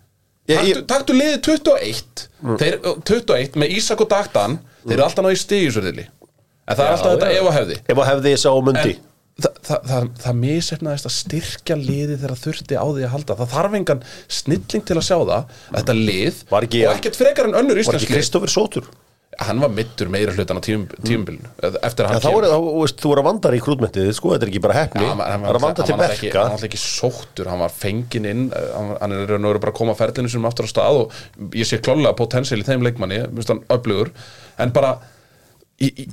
Ég- taktu, ég- Mm. taktu liðið 21 þeir, 21 með Ísak og Dagdan þeir eru alltaf náðu í stigisverðili en það er alltaf þetta já. ef að hefði Ef að hefði ég sá mundi en það, það, það, það misefnaðist að styrkja liði þegar þurfti á því að halda það þarf engan snilling til að sjá það að þetta lið Var ekki- og ekkert frekar en önnur Var ekki íslenski Kristoffer Sótur? hann hann var mittur meira hlutan á tím, tímbilinu eftir að En hann Mm. þá er það, veist, þú er að vandar í krútmentið, sko, þetta er ekki bara hefni Já, Það hann, hann, er að vanda til hann, var ekki, verka hann var ekki sóttur, hann var fengin inn eh, hann, hann er í raun og veru bara að koma ferlinu sem aftur á stað og ég sé klálega potensial í þeim leikmanni, minnst hann öflugur en bara ég, ég,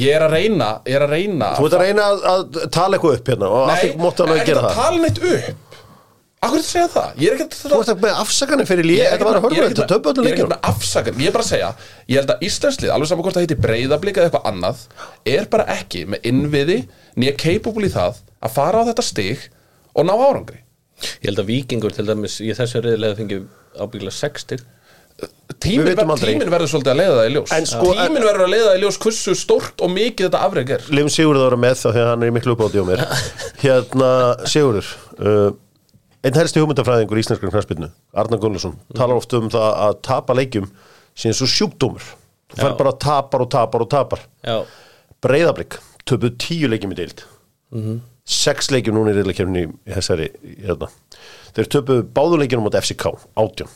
ég er að reyna ég er að reyna Þú ert að reyna að, að tala eitthvað upp hérna og allir mótt alveg að gera það Nei, en þetta tala neitt upp Akkur þetta segja það? Ég er ekkert Þú ert að með afsakanir fyrir líð, þetta var að horfa þetta töpu öllu Ég er ekkert leikjum með afsakan, ég er bara að segja Ég held að Íslandslið, alveg saman hvort það heiti breyðablika eða eitthvað annað Er bara ekki með innviði Nýja capable í það Að fara á þetta stig og ná árangri Ég held að vikingur til dæmis í þessu reyðilega fengi ábyggilega 60 Við Tímin, vitum ver, aldrei. tímin verður svolítið að leiða það í ljós En sko- Tímin verður að leiða það í ljós hversu stórt og mikið þetta afreg er Lim Sigurður ára með þá þegar hann er í miklu uppáti á mér Hérna Sigurður uh, Einn helsti hugmyndafræðingur í íslenskar knarspilnu Arnar Gunnlauson Mhm. talar oft um það að tapa leikjum síðan svo sjúkdómur Þú fer bara að tapar og tapar og tapar Já, Breiðablik, töpuð tíu leikjum í deild Sex leikjum núna í reyðleikjumni í þessari hérna. Þeir töpuð báðuleikjum á FCK 18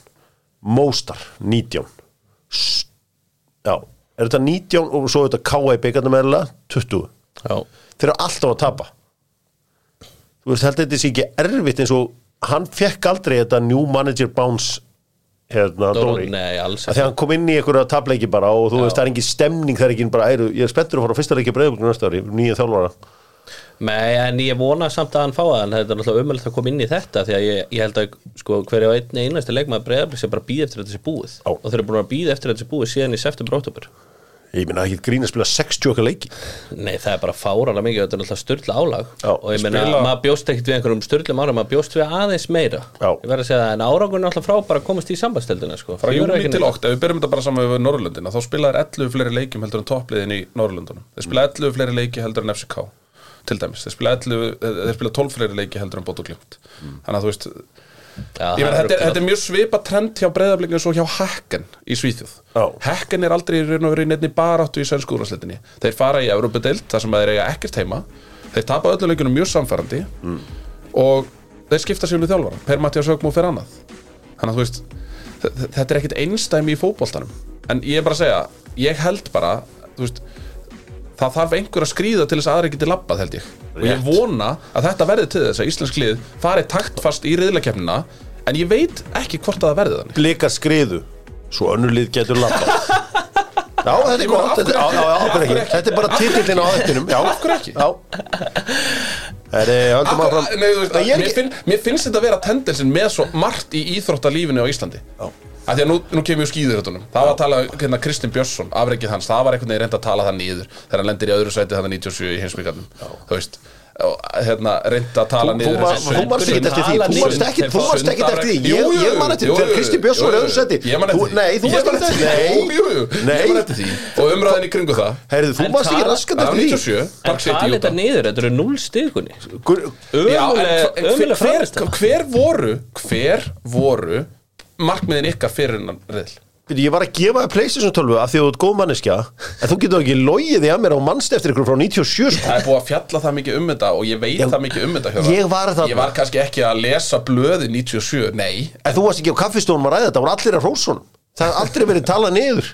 Móstar 19 S- Já, er þetta 19 og svo er þetta KA í byggarnum eðla 20 já, þeir eru alltaf að tapa þú veist heldur þetta sé ekki erfitt eins og hann fekk aldrei þetta new manager bounce hérna Dóri Dóri, nei, alls að því að hann kom inn í einhverja tapleiki bara og þú veist það er engin stemning það er ekki bara æru ég er spenntur að fara á fyrsta leiki breyðublum næsta ári nýja þjálfara Nei, en ég vona samt að hann fá það en þetta er náttúrulega umöld að koma inn í þetta því að ég, ég held að sko, hverja og einni einasti leikmaður breyðarblik sem bara býð eftir að þetta sé búið Já. og þeir eru búin að býð eftir að þetta sé búið síðan í september oktober ég minna ekki grín að spila 60 okkar leiki Nei, það er bara fáralega mikið þetta er náttúrulega styrla álag Já, og ég meina, spila- maður bjóst ekkert við einhverjum styrlum ára maður bjóst við aðeins meira Já. Ég verð að segja það, en árangur er náttúrulega frábæra að komast í sambandsteldina sko. frá Ég verð júni ekki til neitt. okt, ef við byrjum þetta bara saman við Norrlöndina þá spila þær 11 fleiri leikjum heldur en toppliðin í Norrlöndunum þeir spila 11 fleiri leiki heldur en FCK til dæmis, þeir spila, 11, eh, þeir spila 12 fleiri leiki heldur en Bótt og Glimt þannig að þú veist, Já, Ég meina, það er þetta, er- rugl- þetta er mjög svipa trend hjá breyðablingum svo hjá Hacken í Svíþjóð Já. Hacken er aldrei í raun og verið nefni baráttu í sænsku úrvarsleitinni Þeir fara í Europadeild þar sem þeir eiga ekkert heima Þeir tapa öllu leikunum mjög samfærandi og þeir skipta sér við þjálfara Per Mattias Högmú fer annað Þannig að þú veist, þ- þ- þetta er ekkit einstæmi í fótboltanum En ég er bara að segja, ég held bara þú veist, það þarf einhver að skrýða til þess að aðri geti labbað held ég og ég Rétt. vona að þetta verði til þess að íslensk lið fari taktfast í riðlakefnina en ég veit ekki hvort að það verði þannig blikar skriðu svo önnulið getur lappa já þetta er gott þetta, já, já, já, af hverju ekki. þetta er bara titillin á öttinum já, af hverju ekki? já Það er, höldum Akkur, áfram nei, þú veist, Nei, ég er mér, ekki- finn, mér finnst þetta að vera tendensin með svo margt í íþróttalífinu á Íslandi Já. að því að nú, nú kemur við skýðurötunum það var að tala um hérna, Kristinn Björnsson, afreikið hans það var einhvern veginn reynd að tala það niður þegar hann lendir í öðru sæti þannig 97 í heimsbyggarnum þú veist og, hérna, reynd að tala Þú- þú niður var- þessa þú varst sundbrun. ekkert eftir því, Tala þú varst niður ekkert- þú þessa varst ekkert eftir því. Ég- sundarreik. Jú, jú, ég man eftir jú, þegar jú, Kristín jú, Björnsson var í jú, öðru sæti. ég man Þú- eftir því. nei, þú Ég varst man eftir því. eftir því. Jú, jú, jú, Nei. ég man eftir því og umræðin í kringum það Heyrðu, þú En varst ekki tala- raskat það var eftir því 97 En Park City hvað er út þetta af. niður? Þetta eru núl stigunni Gur- Já, en Ömulega, hva- en hver, ömulega hver, framist hver voru Hver voru Markmiðin ykkar fyrir hennan reyðl Ég var að gefa þér Playstation 12 af því að þú ert góð manneskja en þú getur ekki logið því að mér á mannst eftir ykkur frá 97 sko. Það er búið að fjalla það mikið um þetta Og ég veit Já, það mikið um þetta Hjörvar. ég var þarna. Ég var kannski ekki að lesa blöði 97 Nei En þú varst ekki á kaffistónum að ræða þetta, það voru allir að hrósunum Það hefði aldrei verið talað niður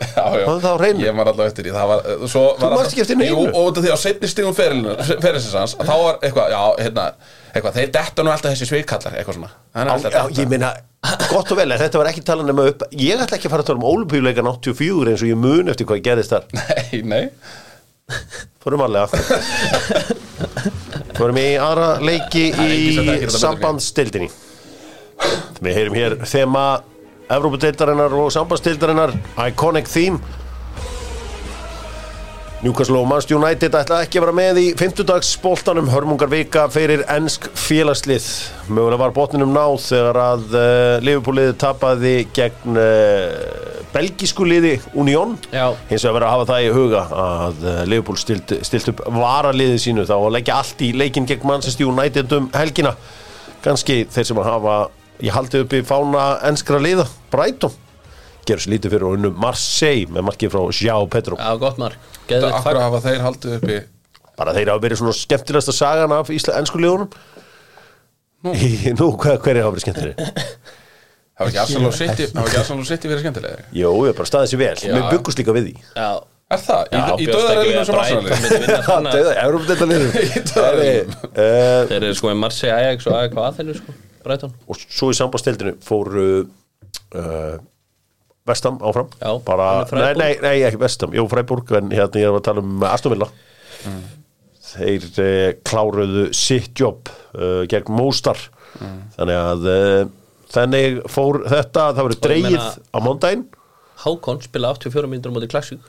já, já. Hafðu það á hreinu? Ég var alltaf eftir því Það var, uh, svo var manst ekki eftir neinu? Jú, og út af því á setni stigum ferðisins hans að Þá var eitthvað, já, hérna Eitthvað, þeir detta nú alltaf þessi svikallar Eitthvað svona Hann er alltaf Já, að detta. ég meina, gott og vel, en þetta var ekki talað nema upp Ég ætla ekki að fara að tala um ólupíuleikan 84 eins og ég mun eftir hvað gerðist þar Nei, nei Fórum allega Fórum í aðra leiki er enginn í sem þekkir þetta betur en ég. sambandsdeildinni Við heyrum hér þema Evrópudeildarinnar og sambandsdeildarinnar Iconic Theme Newcastle og Manchester United ætla ekki að vera með í 50 dags boltanum hörmungar vika fyrir ennsk félagslið mögulega var botninum náð þegar að uh, Liverpoolið tapaði gegn uh, belgísku liði Union Já. hins vegar verður að hafa það í huga að uh, Liverpool stilt, stilt upp varaliðið sínu þá að leggja allt í leikin gegn Manchester United um helgina kannski þeir sem að hafa ég haldi upp í fána ennskra liða Brighton gerur sér lítið fyrir og unnu Marseille með markið frá João Pedro Já, gott mark Þetta Geðveikt akkur fagn. hafa þeir haldið uppi bara þeir hafa verið svona skemmtilegasta sagan af ísla, ennsku liðunum Í- Nú, hver, hverju hafa verið skemmtilegri? Hafa ekki Arsenal og City Hafa ekki Arsenal og City verið skemmtilegri Jó, ég hef bara staðið sér vel, Já. við byggust líka við því Já, Er það? Já, Í, í bjóst ekki við döðarælinu Dauða, Evróp þetta liður að Brighton myndi vinna þannig að- Þeir sem Arsenal Í dauðarefnum. eru sko með Marseille, Ajax og AEK Aþenu sko, Brighton Og svo í sambandstildinu fór uh, Vestam áfram Já, bara, hann er nei, nei, Freiburg. nei, ekki Vestam, jú, Freiburg en hérna ég var að tala um Aston Villa Þeir uh, kláruðu sitt jobb uh, gegn Móstar Þannig að uh, þannig fór þetta, það verið Og ég dreigið meina- á mándaginn Hákon spila 84 mínútur á móti klassík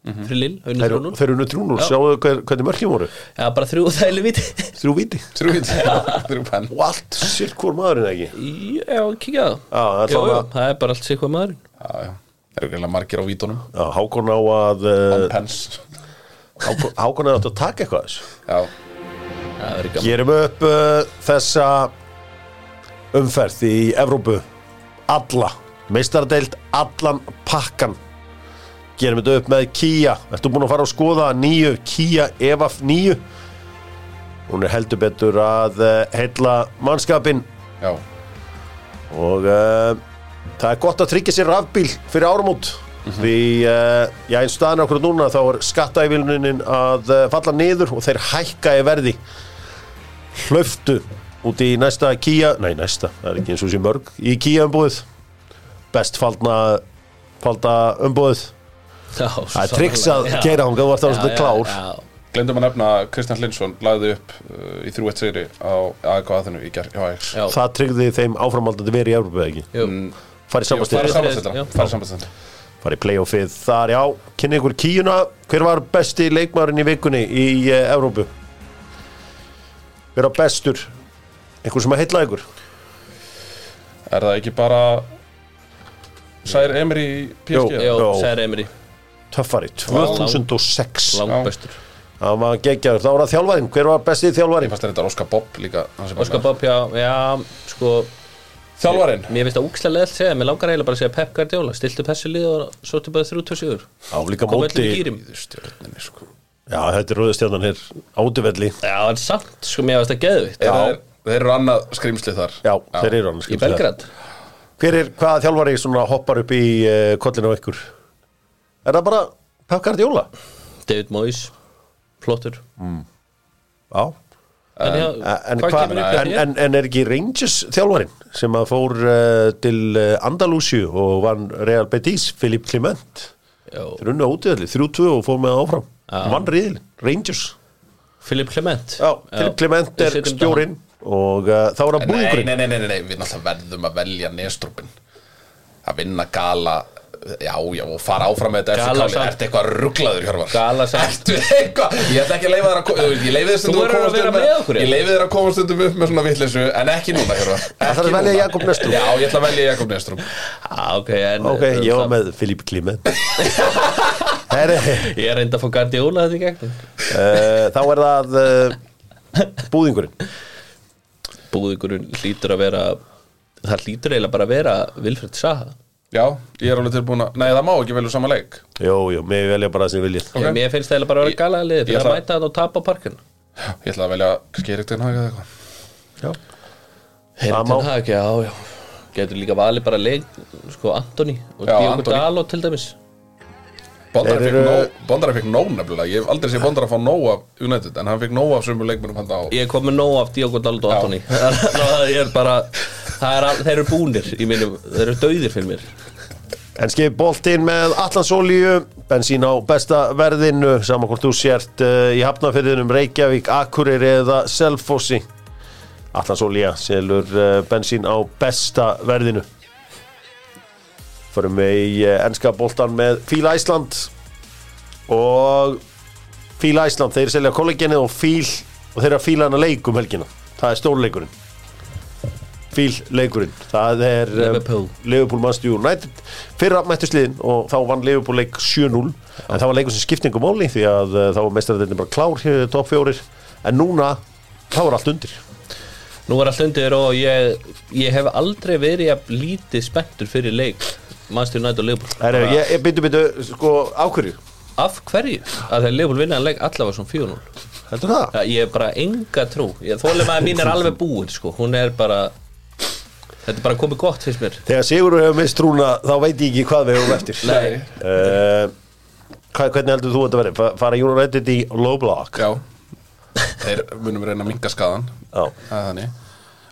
fyrir Lill, auðvitað Þeir, þrjónur þeir eru trúnur, Já. sjáu hver, hvernig mörkin voru Já, bara þrjú þæli viti Þrjú viti Trúið Þrjú penn Og allt sitt hvort maðurinn eða ekki Já, kíkja á Já, það er það Jú, jú, allavega- það er bara allt sér hvað maðurinn Já, já Það eru greiðlega margir á vítunum Já, Hákon á að On uh, pens Hákon, Hákon er átt að taka eitthvað af þessu Já Já, Það er gaman Gerum upp uh, þessa umferð í Evrópu alla, meistardeild allan pakkan gerum þetta upp með Kia Ertu búin að fara að skoða nýju Kia EVAF 9 Hún er heldur betur að uh, heilla mannskapin Já eh, og uh, það er gott að tryggja sér rafbíl fyrir áramót mm. Því, uh, já, eins staðan okkur núna þá er skattaívilnunin að uh, falla niður og þeir hækka í verði hlöftu út í næsta Kia, nei næsta, það er ekki eins og sé mörg í Kia umbúðið best faldna falda umbúðið Það er triks að gera hún, þú ert alveg svona klár. Glendum að nefna að Kristján Hlinsson lagði upp uh, í 3-1 sigri á AEK aðinu í gerð hjá Ajax Já. það tryggði þeim áframaldandi verið í Európa eða ekki Mm. farið Fara Jú, samastýrið, farið- sambandstilda Já. Fara sambandstilda farið playoffið þar, já, kynni ykkur kíuna hver var besti leikmaðurinn í vikunni í uh, Európu hver var bestur einhver sem að heilla ykkur Er það ekki bara Sær Emri í PSG? Jó, Jó. Særi Emery, töffari, 2006 langbæstur það var geggjaður, þá var það þjálfarinn hver var besti Ég þjálfarinn fannst þetta Óskar Bob líka hann sem Óskar Sko, bara- Bob, já, já, sko Þjálfarinn Mér finnst það úkslega leðalt segja, mér langar eiginlega bara að segja Pep Guardiola Stiltu þessi lið og svo til bara 3-2-7 á líka Kom öllum móti, í gýrim Í Stjörninni sko já þetta er rauðastjarnan hér áduvelli, Já, en samt, sko, mér finnst það geðvitt Þeir eru- þeir eru annað skrýmsli þar já, þeir eru hann Í Belgrad hver er, hvaða þjálfari svona hoppar upp í uh, kollinu á ykkur er það bara Pep Guardiola David Moyes, flottur já En, já, Eh, En, hvað hva, kemur upp hjá en, þér? en, en er ekki Rangers þjálfarin sem að fór uh, til uh, Andalusiu og vann Real Betis Filip Clement Já. þeir unna útiðalli, 3-2 og fór með það áfram Já. vann riðil, Rangers Philip Clement Já, Filip Clement er Við setjum stjórinn og uh, þá er það Nei, búðingurinn nei, nei, nei, nei, nei, við náttúrulega verðum að velja nestrúpin að vinna gala já, já, og fara áfram með þetta Gala eftir káli, samt. ertu eitthvað rugglaður Hjörvar Gala samt. ertu eitthvað, ég ætla ekki að leifa þér að ko- ég leifi þér stundum verður að vera upp með okkur, ég ég. leifi þér að koma stundum upp með svona vitleysu en ekki núna Hjörvar Það þarf að velja Jakob Nestrup. já, ég ætla að velja Jakob Nestrúm Já, Ah, ok, en um, Ok, ég var með Filip Clement Herri, Ég er reynd að fá Guardiola þetta í gegnum uh, þá er það uh, búðingurinn Búðingurinn hlýtur að vera Það hlýtur eiginlega bara að vera Vilfred Saha já, ég er alveg tilbúin að, nei það má ekki velja sama leik Jú, jú, mig velja bara það sem ég vilja Ok. Mér finnst það eiginlega bara að vera gala lið Ég Fyrir að ætla- mæta það og tapa á parkinu ég ætla að velja, kannski er eitthvað eða eitthvað Já, Það má- Hertin Hag, já, já Getur líka valið bara leik Sko, Antoni og Já, Diogo Antoni. Daló til dæmis Bondara Þeir fekk eru- nóg, Bondara fekk nóg nefnilega, ég hef aldrei séð Bondara fá nóg af United, en hann fekk nóg af sömu leikmennum hann á Ég kom með nóg af Diogo Daló og Antoni Það er bara það er, all- Þeir eru búnir í mínum Þeir eru dauðir fyrir mér En skip boltinn með allansólíu, bensín á besta verðinu, saman hvort þú sért uh, í hafnafyrðinum Reykjavík, Akureyri eða Selfossi. Allansólíja selur uh, bensín á besta verðinu. Förum við í uh, ennska boltan með Fíla Ísland og Fíla Ísland, þeir selja kolleginni og Fíl og þeirra Fíla hana leik um helgina. Það er stórleikurinn. Fíl leikurinn, það er um, Liverpool. Liverpool Manchester United fyrra mættusliðin og þá vann Liverpool leik 7-0 en það var leikur sem skiptingum óli því að uh, þá var mestaradeildin bara klár hér top 4 en núna þá er allt undir Nú er allt undir og ég, ég hef aldrei verið að lítið spenntur fyrir leik Manchester United og Liverpool Heru, ég, ég byrju byrju sko ákverju Af hverju? Að þegar Liverpool vinnaði leik allavega svona 4-0 heldur það? Það- Ég er bara enga trú Ég þóli maður mín er alveg búin sko Hún er bara Þetta er bara komið gott fyrst mér Þegar Sigurður hefur mist trúna þá veit ég ekki hvað við hefum eftir Nei. uh, hvað, Hvernig heldur þú að þetta verið? Fa- Fara United í low block? Já Þeir munum reyna að minga skaðan Já. Það er Þannig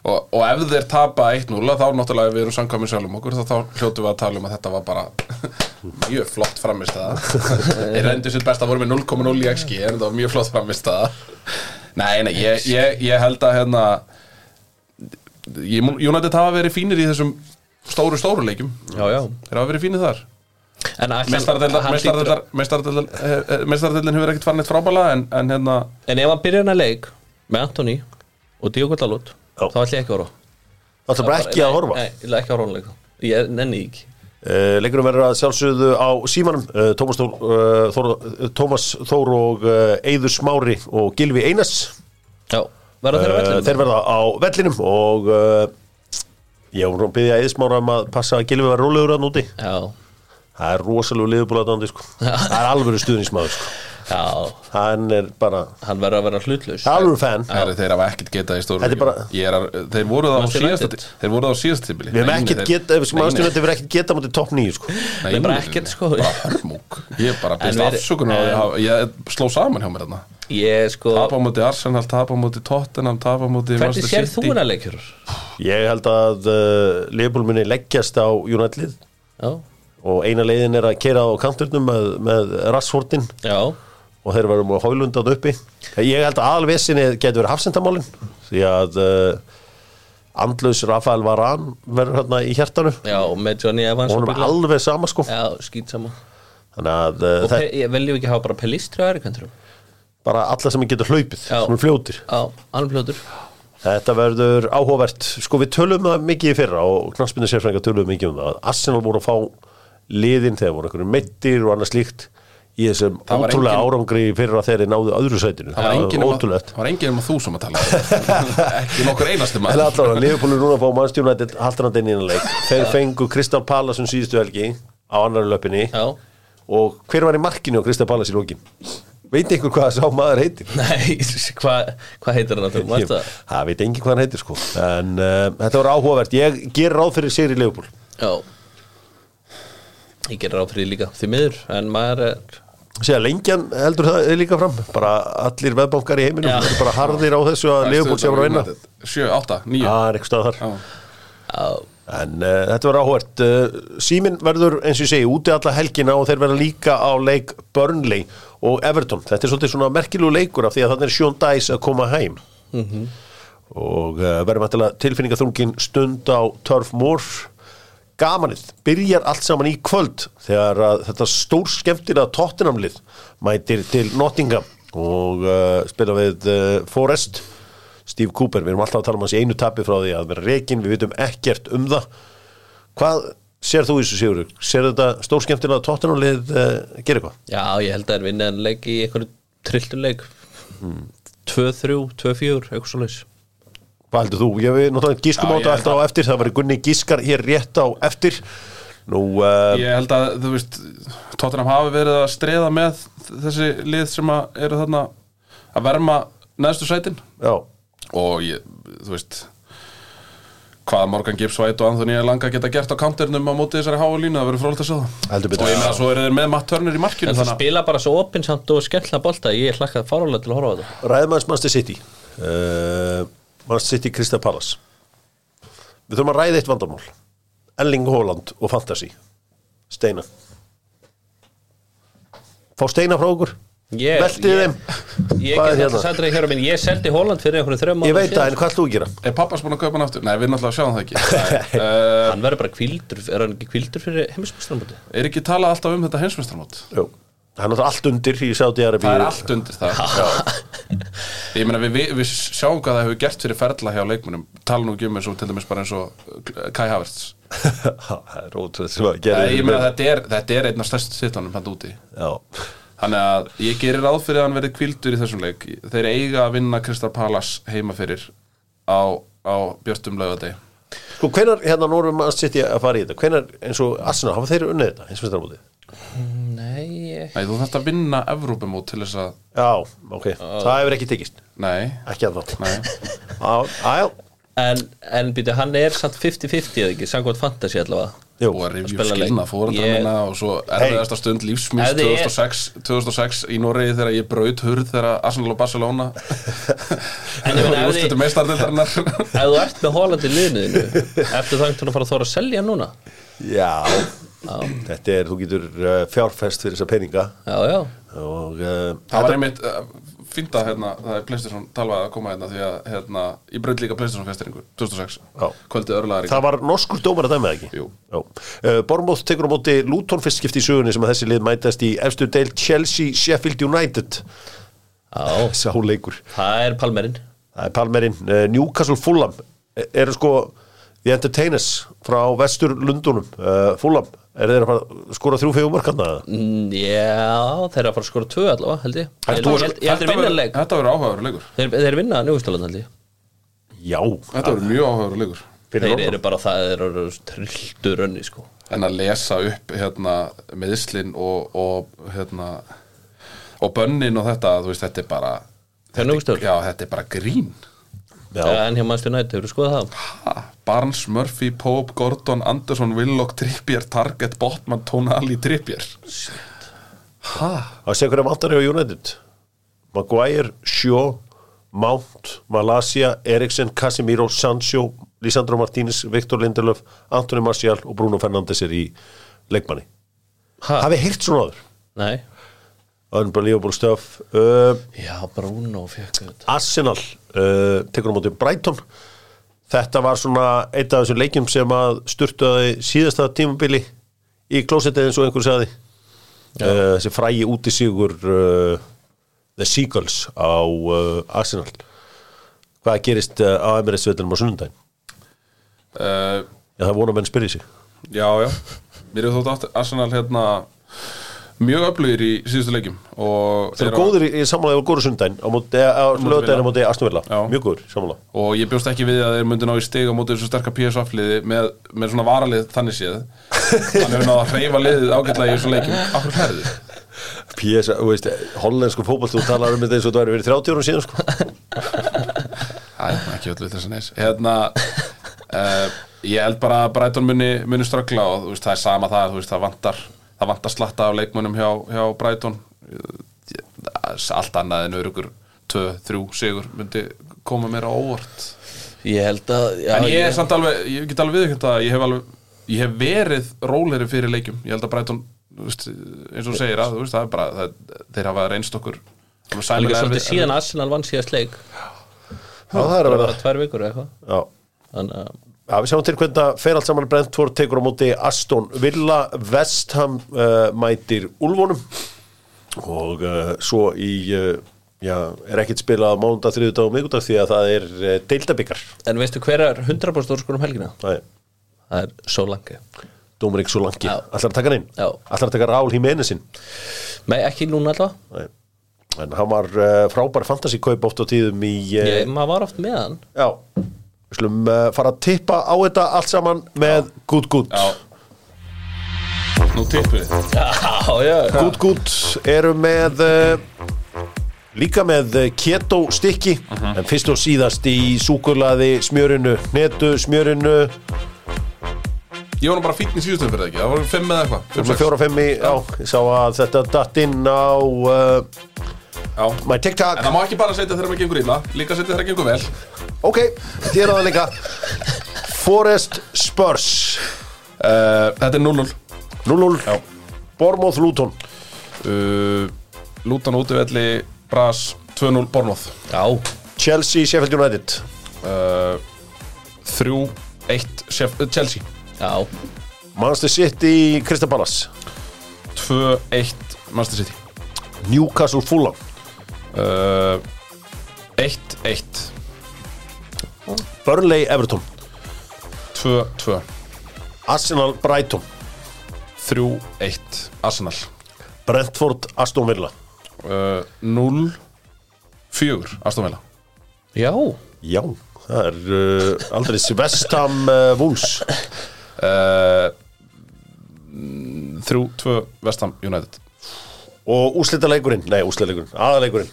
og, og ef þeir tapa 1-0 þá náttúrulega við erum samkvæmið sjálfum okkur þá, þá hljótu við að tala um að þetta var bara mjög flott framist það Þeir reyndu sitt besta voru með 0,0 í XG en það var mjög flott framist það Nei, nei, ég, ég, ég held að hérna ég, mun- United hafa verið fínir í þessum stóru, stóru leikjum Já, já Þeir hafa verið fínir þar En ætlar- hann hlýtur- eh, Mestaradildin hefur ekkert farin eitt frábæla en, en hérna En ef hann byrjar hennar leik Með Antoni og Diogo Dalot Já. Þá ætla ég ekki að horfa Það er bara ekki að horfa Nei, ég ætla ekki að horfa á leika Ég er- nenni því ekki Uh, leikurum verður að sjálfsögðu á símanum uh, Tómas, Þór, uh, Þór, Tómas Þór og uh, Eyður Smári og Gilvi Einars Já, verða þeirra uh, vellinum þeir verða á vellinum og uh, ég voru að byggja Eyður Smára um að passa að Gilvi var rólegur að núti Já það er rosalega liðbúlaðandi sko. það er alvöru stuðnismæður sko. Já, hann er bara hann verður að vera hlutlaus alveg fan Herri, þeir hafa ekkert getað í stóru Þetta er bara- ég er að, þeir voru það á Manchester síðasta United. þeir voru það á síðasta tímbili við hefum ekkert geta við smáðastum þetta við ekkert geta mútið topp nýju sko Nei, Nei, bara nei, nei, ekkert, nei. sko. bara hörmúk ég er bara byrst En við- afsökunar á því að hafa- ég sló saman hjá mér þarna Ég sko, tapa á móti Arsenal, tapa á móti Tottenham tapa á móti hvernig Manchester sér þú City. hennar leikjur? ég held að uh, Leopold muni leggjast á United Já, og eina leiðin er að keira á kanturnum með, með rassvortin já, og þeir verðum að hólundað uppi ég held að aðalvesinni getur verið hafsendamálin því að uh, andlaus Rafael Varane verður hérna í hjertanu já, með Johnny og Evans honum er bílnum. alveg sama sko Já, skýt sama þannig að uh, Og það er Pe- ég veljum ekki að hafa bara pelistri á erikanturum bara alla sem getur hlaupið Já. sem er fljótir Já, hann er fljótur Þetta verður áhugavert. Sko við tölum það mikið í fyrra og knarsmyndir sérfrænga tölum mikið um það. að Arsenal voru að fá liðin þegar voru einhverjum meittir og annað slíkt í þessum Það var ótrúlega engin- árangri í fyrra þegar þeir náðu öðru sætinu. það var enginn um að- ótrúlegt. það var enginn um að þú sem að tala ekki nokkur einasti En maður allavega, Liverpool er núna að fá Manchester United haldanandi inn í innan leik. Þeir fengu Kristal Palace um síðustu helgi á annar löpinni Já, og hver var í markinu á Kristal Palace í lókin? Veit einhver hvað sá maður heitir? nei, hvað hva heitir hann að þú? Ég- Mæstu það? Það veit engin hvað hann heitir sko. En uh, þetta var áhugavert. Ég ger ráð fyrir sér í Liverpool. Já Ég gerir ráð fyrir því líka, því miður En maður er, segja lengjan heldur það líka fram bara allir veðbankar í heiminum Já. eru bara harðir á þessu að Leopold sé að fara að vinna Ah. 7, 8, 9 það er eitthvað staðar Já. já, en uh, þetta var áhvert uh, símin verður eins og ég segi úti alla helgina og þeir verða líka á leik Burnley og Everton þetta er svolítið svona merkilegu leikur af því að þannig er Sean Dice að koma heim og uh, verðum að tilfinningaþrungin stund á Turf Moor gamanið, byrjar allt saman í kvöld þegar að þetta stór skemmtilega tóttinamlið mætir til Nottingham og uh, spila við uh, Forrest Steve Cooper, við erum alltaf að tala um hans í einu tapi frá því að vera rekin, við vitum ekkert um það hvað sér þú í þessu Sigurður? Sér þetta stór skemmtilega tóttinamlið uh, gera eitthvað? já, ég held að er vinna en leik í einhverju trilltuleik Hmm. 2-3, 2-4, eitthvað svo leis Hvað heldur þú? Ég við náttúrulega gískum Já, á ég þetta held alltaf á eftir, það var Gunni Gískar hér rétt á eftir Nú, uh, ég held að þú veist Tottenham hafi verið að streða með þessi lið sem að eru þarna að verma neðstu sætin já, og ég, þú veist hvað Morgan Gibbs White og Anthony Langa geta gert á counternum á móti þessari háa línu það verður frólægt að sjá heldur það og ég betur meina svo eru þeir með Matt Turner í markinu En það þannig að spila bara svo opinsamt og skemmtla bolta Ég hlakka fárálega til að horfa á þetta Ræðmanns Manchester City uh, Manchester City Krista Palace Við þurfum að ræða eitt vandamál Elling Holland og Fantasy Steina Fá Steina frá okkur Ég- Veltið ég- þeim Ég Hvað er get hérna? alltaf sættur ekki hér á minn Ég seldi Holland fyrir einhverju þrjum Ég veit það, en hvað ætlum þú að gera? er pappas búin að kaupa hann aftur? Nei, við náttúrulega sjáum það ekki uh, Hann verður bara kvildur, er hann ekki kvildur fyrir heimismestramóti? er ekki talað alltaf um þetta heimsmeistramót Jú. Það er náttúrulega allt undir í Saudi Arabi það er allt undir það ég meina við, við, við sjáum hvað það hefur gert fyrir ferla hjá leikmunum tala nú ekki um eins og til dæmis bara eins og uh, Kai Havertz Það er ótrúð sem að gera Nei, ég meina þetta er, þetta er einn af stærst sittanum hann úti Já, Þannig að ég gerir ráð fyrir að hann verði kvildur í þessum leik Þeir eiga að vinna Kristal Palas heima fyrir á, á Björtum laugardegi Sko, hvenar, hérna nú erum að sitja að fara í þetta Hvenar, eins og Arsenal, hafa þeir unnið þetta eins og þetta mútið? Nei, ég- Nei, þú þarft að vinna Evrópumót til þess að Já, ok, það hefur ekki tekist Nei, Ekki að þá nei Já, en, en býtu, hann er samt 50-50 eða ekki, samkvæmt fantasy allavega já, jú Og að rifja Spila upp leik. skilna fóreldra Ég- minna og svo erfiðasta stund lífsmins Ef þið er- 2006, 2006 í Noregi þegar ég braut hurð þegar Arsenal og Barcelona En ég meina, ef þið- Úrstutu meistardildarinnar Ef þú ert með Holland í liðniðinu Eftir þangt hann að fara að þóra að selja hann núna Já, þetta er, þú getur uh, fjárfest fyrir þessa peninga Já, já, og uh, Það var einmitt uh, fínt að hérna, það er Playstation talvað að koma hérna því að hérna, ég braut líka Playstation festiringu 2006, Já. kvöldið örlaðar það var norskur dómar að dæma það ekki? Jú. Já. Uh, Bormóð tekur á móti Luton fyrst skipti í sögunni sem að þessi lið mætast í efstu deil Chelsea Sheffield United já sá leikur. Það er palmerinn Það er Palmerinn, uh, Newcastle Fulham e- eru sko The Entertainers frá vestur Lundunum uh, Fulham, eru þeir að fara að skora þrjú fegum markanna? Mm, Já, þeir eru að fara að skora tvö allavega, held ég Ég held- ég held- ég held þeir vinna leik Þetta verður áhugaður leikur Þeir, þeir vinna njústaland held ég Já, Þetta verður mjög áhugaður leikur fyrir Þeir Norðan. eru bara það, þeir eru trilltur önni sko En að lesa upp hérna meðslin og, og hérna og bönnin og þetta, þú veist, þetta er bara Þeir þetta, núgustör. er- já, þetta er bara grín Já, en hjá Manchester United, hefur þú skoðað það? ha, Barnes, Murphy, Pope, Gordon Anderson, Willock, Trippier, Target Botman, Tonali, Trippier ha, það sé hverja vantar hjá United Maguire, Shaw Mount, Malasia, Eriksen Casemiro, Sancho, Lisandro Martínez Viktor Lindelöf, Antoni Marcial og Bruno Fernandes er í leikmanni Ha? hafið heyrt svona áður Nei Unbelievable stuff uh, Já, Bruno fekk þetta Arsenal uh, tekur á móti Brighton þetta var svona eitt af þessum leikjum sem að sturtaði síðasta tímabili í klósetið eins og einhver sagði uh, þessi frægi útisígur uh, The Seagulls á uh, Arsenal hvað gerist uh, á Emirates veitinum á sunnundaginn uh, já það vona að menn spyrja sig já, já mér er þótt aftur Arsenal hérna mjög öflugir í síðustu leikjum og þeir eru- eru góður í, í samlega og góður sunnundaginn á móti, eh, á lögdaginn á móti Arsenal Já. mjög góður samlega og ég bjóst ekki við að þeir myndi ná í stig á móti þessu sterka PSV-liði með, með svona varalið þannig séð hann hefur náð að hreyfa liðið ágætlega í þessu leikum Akkur hlæðið? P.S. þú veist, hollensku fótboll þú talar um þetta eins og þú væri verið 30 árum síðan sko. Æ, ekki öllu þessan eins Hérna uh, Ég held bara að Brighton muni, muni ströggla og þú veist, það er sama það, þú veist, það vantar það vantar slatta af leikmönnum hjá, hjá Brighton Ég- allt annað en örugur 2-3 sigur myndi koma mér á óvart Ég held að já, En ég er samt alveg, ég get alveg viðkjönt að ég hef alveg, ég hef verið róleri fyrir leikjum, ég held að Brighton þú veist, eins og þú segir að, þú veist, það er bara það, þeir hafa reynst okkur alveg sæmilega Líka erfið- svolítið síðan Arsenal vann síðast leik Já, það er að Það vera var tvær vikur eða eitthvað Já. Þannig að Já, við sjáum til hvernig það fer allt saman Brentford tekur á móti Aston Villa Vestham uh, mætir Ulfónum og uh, svo í uh, já, er ekkert spilað á mándag, þriðudag og miðgudag því að það er uh, deildabikar En veistu hver er 100% úrskur um helgina? það er Það er Solange Dómarik Solanki, Já. allar að taka hann inn Já. allar að taka Rál Hímenesin Nei, ekki núna alltaf en hann var uh, frábær fantasíkaup oft á tíðum í uh, ég, Maður var oft með hann já, við slum uh, fara að tippa á þetta allt saman með gút gút Já Nú tippið þið. Já, já Gút Gút eru með uh, líka með eh, keto stykki Mhm. en fyrst og síðast í súkulaði smjörinu, netu smjörinu Ég var nú bara fínn í síðustöfum fyrir það ekki, það var fimm eða eitthvað fimm, sem sex. fjóra fimm í, já, ég sá að þetta datt inn á uh, Já. my TikTok, En það má ekki bara setja þeirra með gengur illa, líka setja þeirra gengur vel ok, þér er það líka Forest Spurs uh, Þetta er 0-0 Já. 0-0 Bormóð Luton uh, Lútan útivelli, Bras 2-0, Bornóð Já, Chelsea, Sheffield United uh, 3-1 Shef- uh, Chelsea já Manchester City, Crystal Palace 2-1 Manchester City Newcastle Fulham uh, 1-1 Burnley Everton 2-2 Arsenal Brighton 3-1 Arsenal Brentford Aston Villa uh, 0-4 Aston Villa Já, Já, það er uh, aldrei Vestam uh, Wolves uh, 3-2 West Ham United og úslita leikurinn, nei úslita leikurinn, aða leikurinn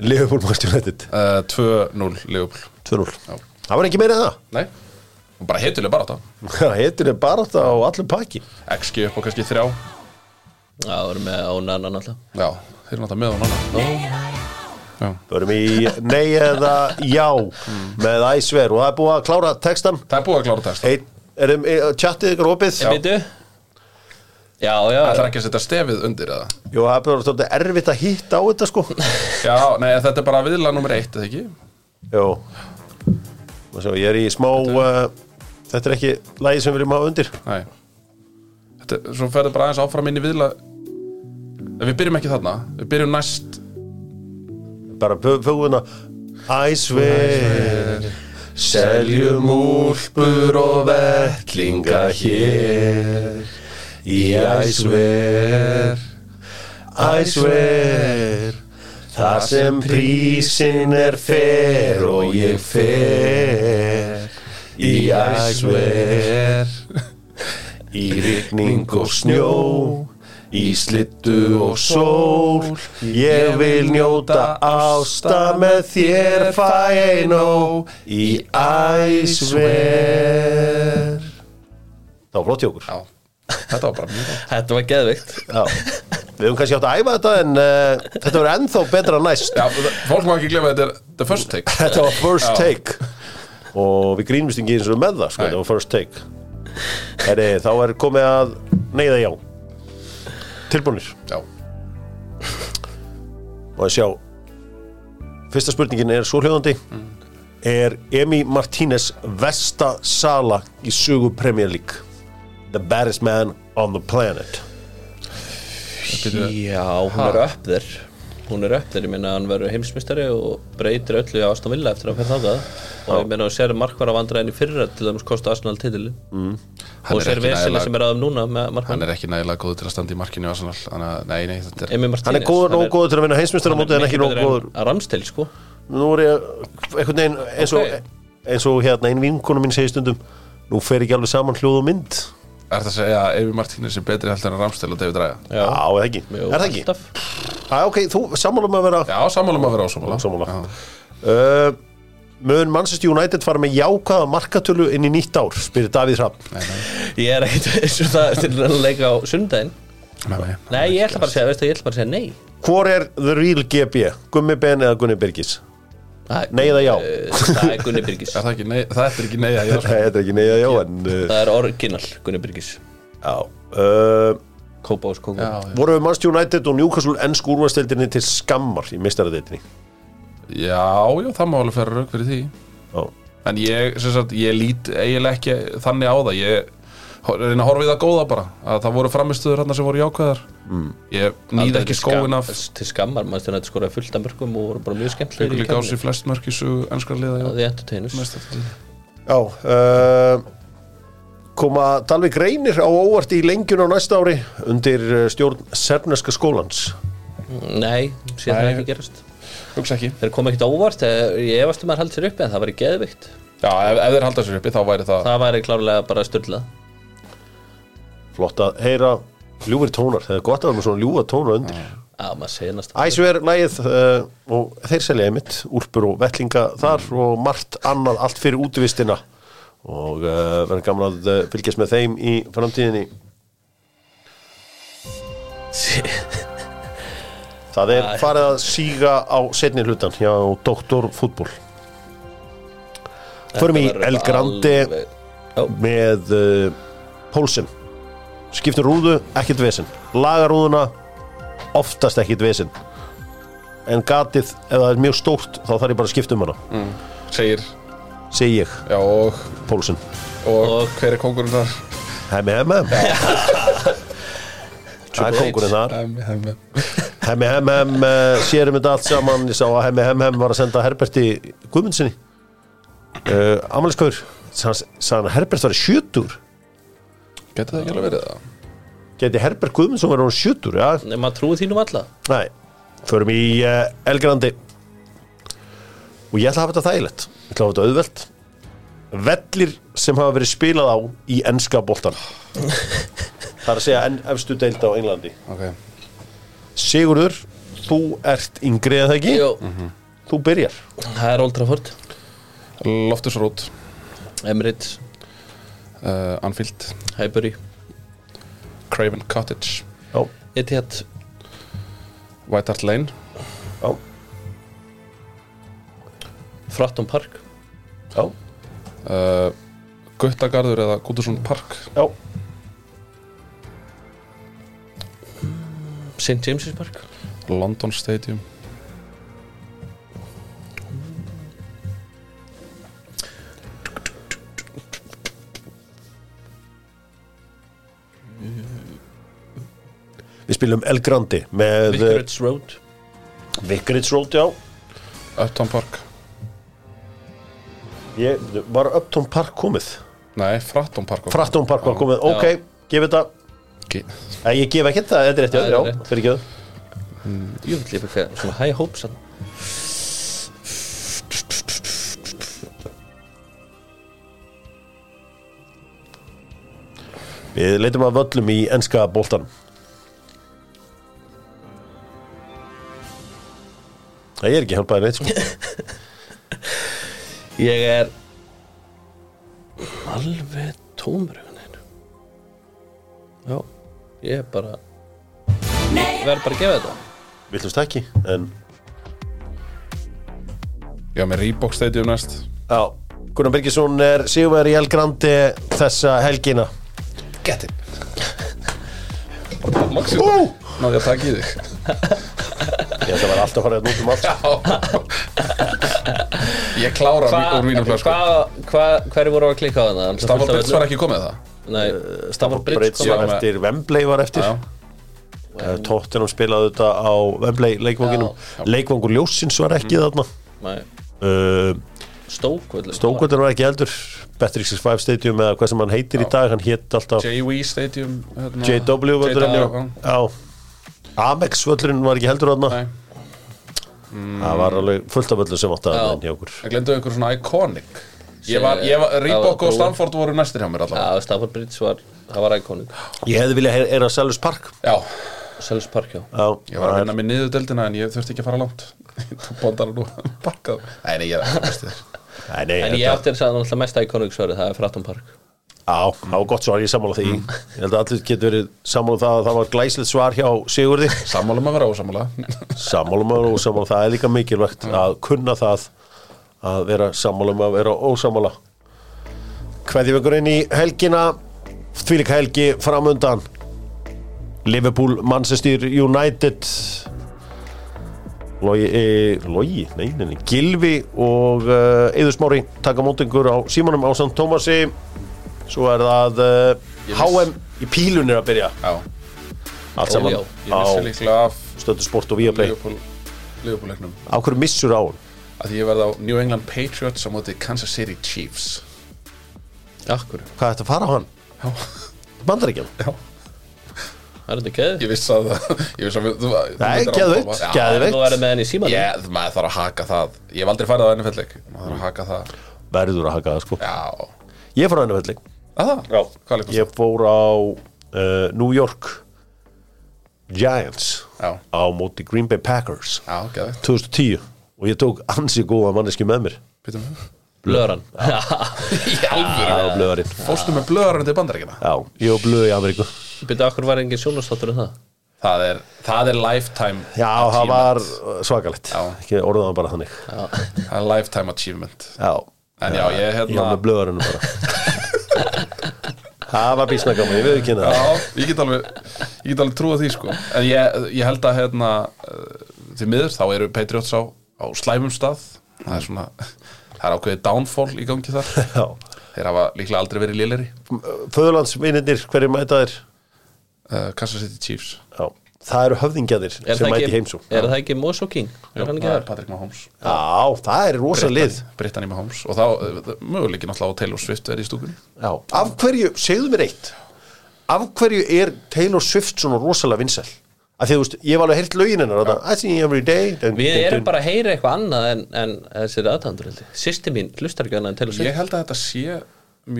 Liverpool Manchester United uh, 2-0 Liverpool 2-0 Já. Það var ekki meira en Nei, hún bara heitilega bara þetta það Hittin er bara þetta á allum pakki XG upp á kannski 3 já, við erum með ónannan alltaf Já, þeir eru náttúrulega með hún annað Já Börum í nei eða já með æsver og það er búið að klára textan Það er búið að klára testa Ein, erum, er, Tjattið ykkur opið En veitu? Já, já Það er ekki að setja stefið undir eða Jú, það er bara svolítið erfitt að hitta á þetta sko Já, nei, þetta er bara viðla nummer 1, eða ekki? Jó Má sjá, Ég er í smá uh, Þetta er ekki lægi sem við viljum hafa undir Nei þetta, Svo ferðu bara aðeins áfram inn í viðla En við byrjum ekki þarna Við byrjum næst bara hérna, fuguna I swear Seljum úlpur og vellinga hér Í I swear I swear Það sem prísin er fer og ég fer Í I swear Í rigning og snjó Í slittu og sól Ég vil njóta ásta með þér fæ ég nóg Í æsver Það var flott hjá okkur Já, þetta var bara mjög gott. Þetta var geðveikt Já. Við höfum kannski átt að æfa þetta en uh, þetta verður ennþá betra næst Já, það- fólk má ekki glemja þetta er the first take Þetta var first take Og við grínumst ekki eins og með það sko, Nei. Þetta var first take Heri, Þá er komið að neyða já Tilbúinir Já, og að sjá fyrsta spurningin er svohljóðandi er Emi Martínez Vesta Sala í sögu Premier League the baddest man on the planet Já, hún er upp þér Hún er upp þér, ég meina hann verður heimsmystari og breytir öllu á Aston Villa eftir að fyrir þákað og ég meina hún sér markvara vandræðin í fyrra til þess kosta Arsenal titili mm. Hann og er sér ekki vesila nægilega- sem er aðum núna með hann markvara er ekki nægilega góð til að standa í markinu í Arsenal Þannig að, nei, nei, þetta er Emi hann Martínez er góður nóg góður til að vinna heimsmyndstara mótið en ekki nóg góður að Ramstil sko nú er ég einhvern veginn eins og, Ok. eins og hérna einn vinkonu mín segir stundum nú fer ekki alveg saman hljóð og mynd Er það að segja að Evi Martínez er betri heldur en Ramstel og David Ræða já, eða ekki, Jú, er það ekki? alltaf. Á, ok, þú sammála með að vera Já, sammálum að vera ásámála Ósammála. Uh, mun Manchester United fara með jákaða markatölu inn í nýtt ár spyrir Davíð Hrapp Ég er ekkit eins og það til að leika á sundaginn Nei, ég ætla bara að segja, veistu, ég ætla bara að segja nei Hvor er the real GB? Gummi Ben eða Gunni Birgis? Það er- Nei eða já? Eh, Það er Gunni Byrgis Er það ekki nei, það er ekki nei að ég Nei, þetta er ekki neyða já en uh, Það er orginal Gunni Byrgis já. Uh, Kópa ás kópa Já, Voru við Manchester United og Newcastle ennsku úrvasteldinni til skammar í mistaradeildinni? já, já, það má alveg fyrir rauk fyrir því Já, En ég, sem sagt, ég lít eiginlega ekki þannig á það Ég ho- reyna að horfa í það góða bara Að það voru framistuður hann sem voru jákvæðar mm. Ég nýð ekki skóin af Til skammar, maður stjórn að þetta skoraði fullt af mörgum og voru bara mjög skemmtilegir í Ykkur líka á keppninni. sér flest mörk í sögu ennskar liða já. Það er entertainers Mest- já uh, Koma Dalvik Reynir á óvart í lengjun á næsta ári undir uh, stjórn Serneska skólans Nei, sé það Nei. ekki gerast Hugsa ekki Þeir kom ekkert á óvart, eh, ég efast um að haldi sér uppi en það væri geðvikt Já, ef, ef þeir halda sér uppi þá væri það, Það væri klárlega bara styrlað Flott að heyra ljúfir tónar, það er gott að vera með svona ljúfa tóna undir Já, maður segir næst Æsver lægið uh, og þeir selja einmitt úlpur og vellinga þar og margt annað allt fyrir útvistina og uh, verður gaman að uh, fylgjast með þeim í framtíðinni Það er farið að síga á setni hlutan hjá Dr. Fútbol Förum í El Grande með uh, Pólsen skiptum rúðu, ekkert vesinn lagar rúðuna, oftast ekkert vesinn en gatið, ef það er mjög stórt þá þarf ég bara að skipta um hana segir segi ég, Já, og, Pólsen og, hver er kóngurinn þar? hemmi hemmi það er kókurinn þar Hemmi, hemmi hemmi hemmi hemmi eh, sérum þetta allt saman ég sá að hemmi hemmi hemmi var að senda Herberti Guðmundsinni uh, Amaliskaur sagðan að Herbert var í sjötur Gæti það ekki alveg verið það? geti Herbert Guðmundsson verið hún sjötur já, Nei, maður trúið þínum alla Nei, förum í uh, Elgrandi og ég ætla að hafa þetta þægilegt ég ætla að hafa þetta auðvelt vellir sem hafa verið spilað á í enska boltan það er að segja enn efstu deild á Englandi Ok Sigurður, þú ert yngri eða ekki, Jó, þú byrjar það er Old Trafford Loftus Rót Emirates, uh, Anfield Highbury Craven Cottage Já, Etihad, White Hart Lane já, Fratton Park já, uh, Guttagarður eða Guttersson Park já St. James's Park London Stadium Við spilum Elgrandi með Vicarage Road Vicarage Road, já Upton Park ég var Upton Park komið Nei, Fratton Park Fratton Park var komið, Já. ok, gef þetta Ge- Nei, ég gef ekki þetta, þetta er rétt, Það er já, já, rétt. fyrir ekki Jú, ég fikk það svona high hopes hann Við leitum að völlum í enska boltan Það er ekki hjálpaði neitt sko. Ég er alveg tómur einhvern veginn. Já, ég er bara verð bara að gefa þetta Villust ekki, en Já, með Reebok Stadium næst Já, Gunnar Birgisson er síðumæður í El Grande þessa helgina Get it Maxi, Ú! náðu ég að taka í þig Ég ætla að vera alltaf farið að nútum um allt sko. Ég klára Hvað úr mínum hva, flösku hva, hverju voru að klikka á það? Stafford Brits var ekki komið það Nei, uh, Stafford Brits Brits kom já. var með- eftir, Wembley var eftir Já, Eh, Tottenham spilaði þetta á Wembley leikvanginum Leikvangur Ljósins var Mm. ekki þarna Nei, uh, Stók völlur. Stókvöldur var ekki eldur Betrixis 5 Stadium eða hvað sem hann heitir í dag hann hétt alltaf JW Stadium hérna, JW JW, völdurinn Já Amex völdurinn var ekki heldur þarna Nei, Það var alveg fullt af völdur sem átti að Já. enn hjá okkur það glemdu einhver svona iconic Ég var, ég var, Reebok og Stanford voru næstir hjá mér allavega Já, Stafford Brits var, það var íkónik Ég hefði viljað heyra- heyra Selvis Park Já, Sells Park, já Já, ég var að það er- vinna mig niður deildina en ég þurfti ekki að fara langt Bóndar nú, bakkað Nei, nei, ég er ekki bestið þér Nei, nei, En þetta- ég átti þess að náttúrulega mesta íkónik svarið, það er Fratton Park Já, það var gott svar, ég er sammála því Ég held að allir getur verið sammála um það að það var glæsilegt svar hjá Sigurði Sammála um að vera ósammála Sammála maður og sammála, það er líka mikilvægt að kunna það að vera sammála um að vera ósammála Hverði ykkur inn í helgina Þvílík helgi framundan Liverpool, Manchester United Logi, e, Logi, nei, nei, nei Gilvi og uh, Eður Smári taka mótingur á Símanum á St. Thomasi Svo er það uh, HM í pílunni að byrja Já, Allt Óljó. saman ég vissi á líklega af stöndu sport og Viaplay Leopold-leiknum Á hverju missur á hún? að ég verði á New England Patriots á móti Kansas City Chiefs Akkur, Hvað er þetta að fara á hann? Já, Bandar ekki hann? já það er þetta keður Ég vissi að það Ég vissi að þú Nei, geðveikt, geðveikt. Þú verður með henni í símanum Ég, maður þarf að haka það Ég hef aldrei farið á NFL-leik Maður þarf að haka það Verður að haka það sko Já Ég fór á henni velling Að það? Já Hvað leikum Ég fór á uh, New York Giants Já á móti Green Bay Packers Já, geðveikt 2010 og ég tók ansi góða manneski með mér Býtum við Blöran Í alvöru á blöðarinn Fórstu með blöðarinn til bandaríkina Já, ég og blöði í Ameríku Byrðu, akkur var engin sjónastáttur um það? Það er, það er lifetime Já, það var uh, svakalegt Já. Ekki orðaðan bara þannig Já, Það er lifetime achievement Já, En já, ég ég var hérna með blöðarinn bara Það var býsna gaman, ég veið ekki hérna Já, ég get alveg, ég get alveg trúið því sko En ég, ég held að hérna eh, Því miður þá eru Patriots á, á slæmum stað Það er svona, það er ákveðið downfall í gangi þar Já Þeir hafa líklega aldrei verið léleri Föðurlandsvinirnir, hverju mæta þér? uh, Kansas City Chiefs Já, það eru höfðingjadir er sem það mæti ekki, í heimsó Já, er það ekki Moso King? Er hann ekki það er þar? Patrick Mahomes það er rosa lið Brittany Mahomes Og þá eh, möguleikin alltaf á Taylor Swift er í stúkunni Já. Af hverju, segðu mér eitt Af hverju er Taylor Swift svona rosalega vinsæl? Af því þú veist, ég var alveg heyrt lögin hennar þarna, I see every day dun, Við dun, erum dun. bara að heyra eitthvað annað en, en þessir aðtandur heldur Sýsti mín hlustar ekki annað en til að Ég held að þetta sé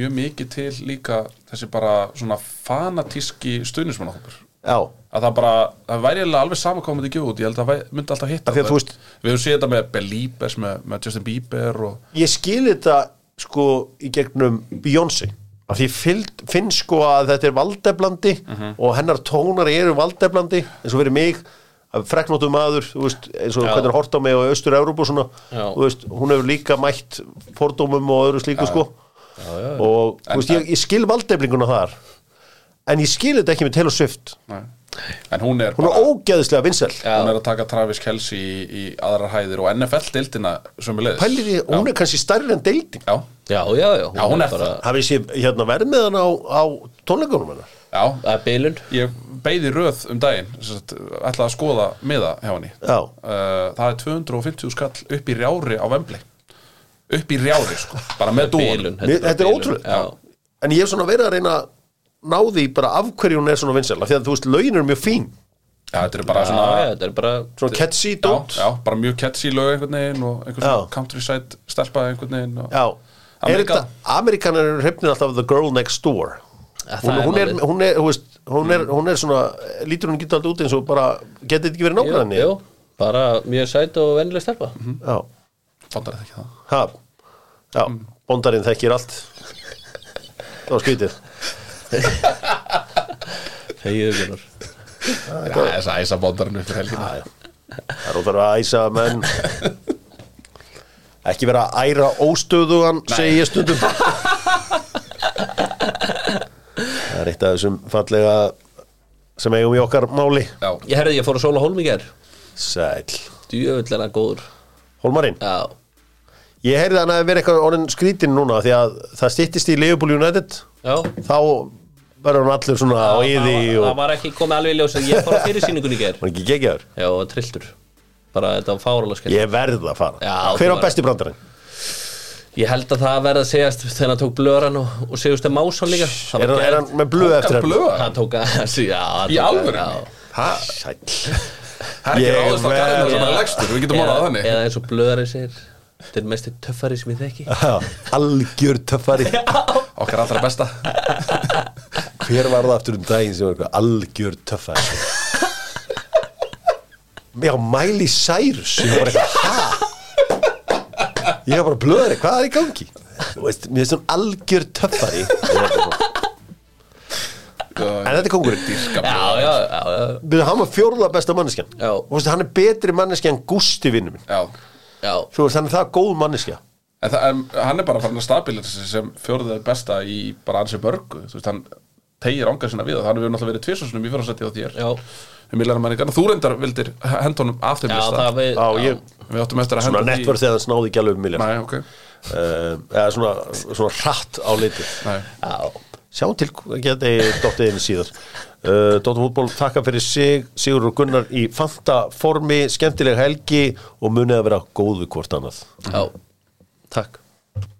mjög mikið til líka Þessi bara svona fanatíski stuðnismannahópur Já, að það bara, það væri eiginlega alveg sama hvað myndi gefa út, ég held að það myndi alltaf hitta Af því að þú veist- við höfum séð þetta með Belíbers, með, með Justin Bieber og ég skil þetta sko í gegnum Beyoncé Af því ég fylg, finn sko að þetta er valdeblandi og hennar tónar eru valdeblandi eins og verið mig að freknóttum maður, þú veist, eins og Já. hvernig er hort á mig og austur-Európa og svona, Já. þú veist, hún hefur líka mætt fordómum og öðru slíku sko já, já, já. og þú veist, ég, ég skil valdeblinguna þar en ég skil þetta ekki með Taylor Swift nei. en hún er hún bara, er ógeðislega vinsæl hún er að taka Travis Kelce í, í aðrar hæðir og NFL-dildina sömulegis pælir því, hún er kannski stærri en deilding já, Já, já, já, Já, hún er bara hafið sé hérna verð með hann á, á tónleikunum hennar já, Það er bilun ég beigði röð um daginn sem sagt, ætlaði að skoða miða hjá henni Já. Uh, það er 250 skall upp í rjári á Vembli upp í rjári sko, bara með dúan Bilun Mér- þetta er ótrúlegt. Já, en ég hef svona verið að reyna að ná því bara af hverju hún er svona vinsæla því að þú veist, lögin eru mjög fín Já, þetta er bara já, svona já, þetta er bara svona catchy já, dot já, bara mjög catchy lög einhvern veginn og einhvern Já. svona countryside stelpa einhvern veginn og... Já. Er Amerika- þetta, Amerikanar eru hrifnir alltaf af the girl next door Ja, hún, það er hún, er, málið. hún, er, hún, Mhm. veist, hún, er, hún er svona lítur hún geta alltaf út eins og bara getið ekki verið Jú, nákvæmni jú, bara mjög sæt og vennileg stelpa Já, Fondar þetta ekki það ha, já, bondarinn þekkir allt Það var skrítið þegiðu Gunnar Það er þess að æsa bondarinn upp fyrir helgina Já, já. Það er óþarf að æsa menn Ekki vera að æra óstöðugan segi ég stundum Það er eitt af þessum fallega sem eigum í okkar máli Já, ég herði ég fór að sóla hólm í ger Sæl djöfullina góður Hólmarinn, já, ég heyrði að hann að vera eitthvað orðin skrítinn núna því að það styttist í Liverpool United já þá verður hann allir svona á yði það, og það var ekki komið alveg í ljós en ég fór að fyrir síningun í ger var ekki geggjaður já, og trilltur bara þetta var fáralega skemmt Ég verð að fara Já, Hver var þú verður. besti brandarinn? ég held að það verði að segjast þegar hann tók blöran og, og segjast að Másson líka Það Er var hann, er hann geðveikt. með blöð eftir hann? blöð hann tók að já, hann Í tók að- alvöru? já. Það Sæll er ekki Ég ráðist á garðinu sem Já. er legstur Við getum Eða- orðað þannig eða eins og blöðari segir þetta er mest töffari sem ég þekki Já, algjör töffari Okkar allra besta hver var það aftur um daginn sem var eitthvað algjör töffari já, Miley Cyrus ég var bara eitthvað, hæ? ég var bara blöðri, hvað er í gangi Þú veist, mér finnst hún algjör töffari Ég var bara svona, en þetta er kongurinn Dýrka já, blöð já, já, já, Við hann var fjórða besta manneskjan Já. og veist, hann er betri manneskja en Gusti vinnu minn Já já. svo veist, hann er það góð manneskja En það, en hann er bara farin að stabilira sig sem fjóruðið besta í bara ansi mörgu Þú veist, hann tegir ángar sinna við og þannig við höfum náttúrulega verið tvisvarsunum í fjórarsætti á þér Já. Við millar manni gana, um þú reyndar vildir hend honum af þeim já lista það við já, ég, Við áttum eftir að svona henda nettvörð þegar hann snáði ekki alveg um miljard uh, Nei, ok Eh, eða svona, svona hratt á litið Nei. já, Sjá til geti dottiðin síðar uh, Dóttir fútból takka fyrir sig Sigur og Gunnar í fanta formi skemmtileg helgi og munið að vera góðu hvort annað já, takk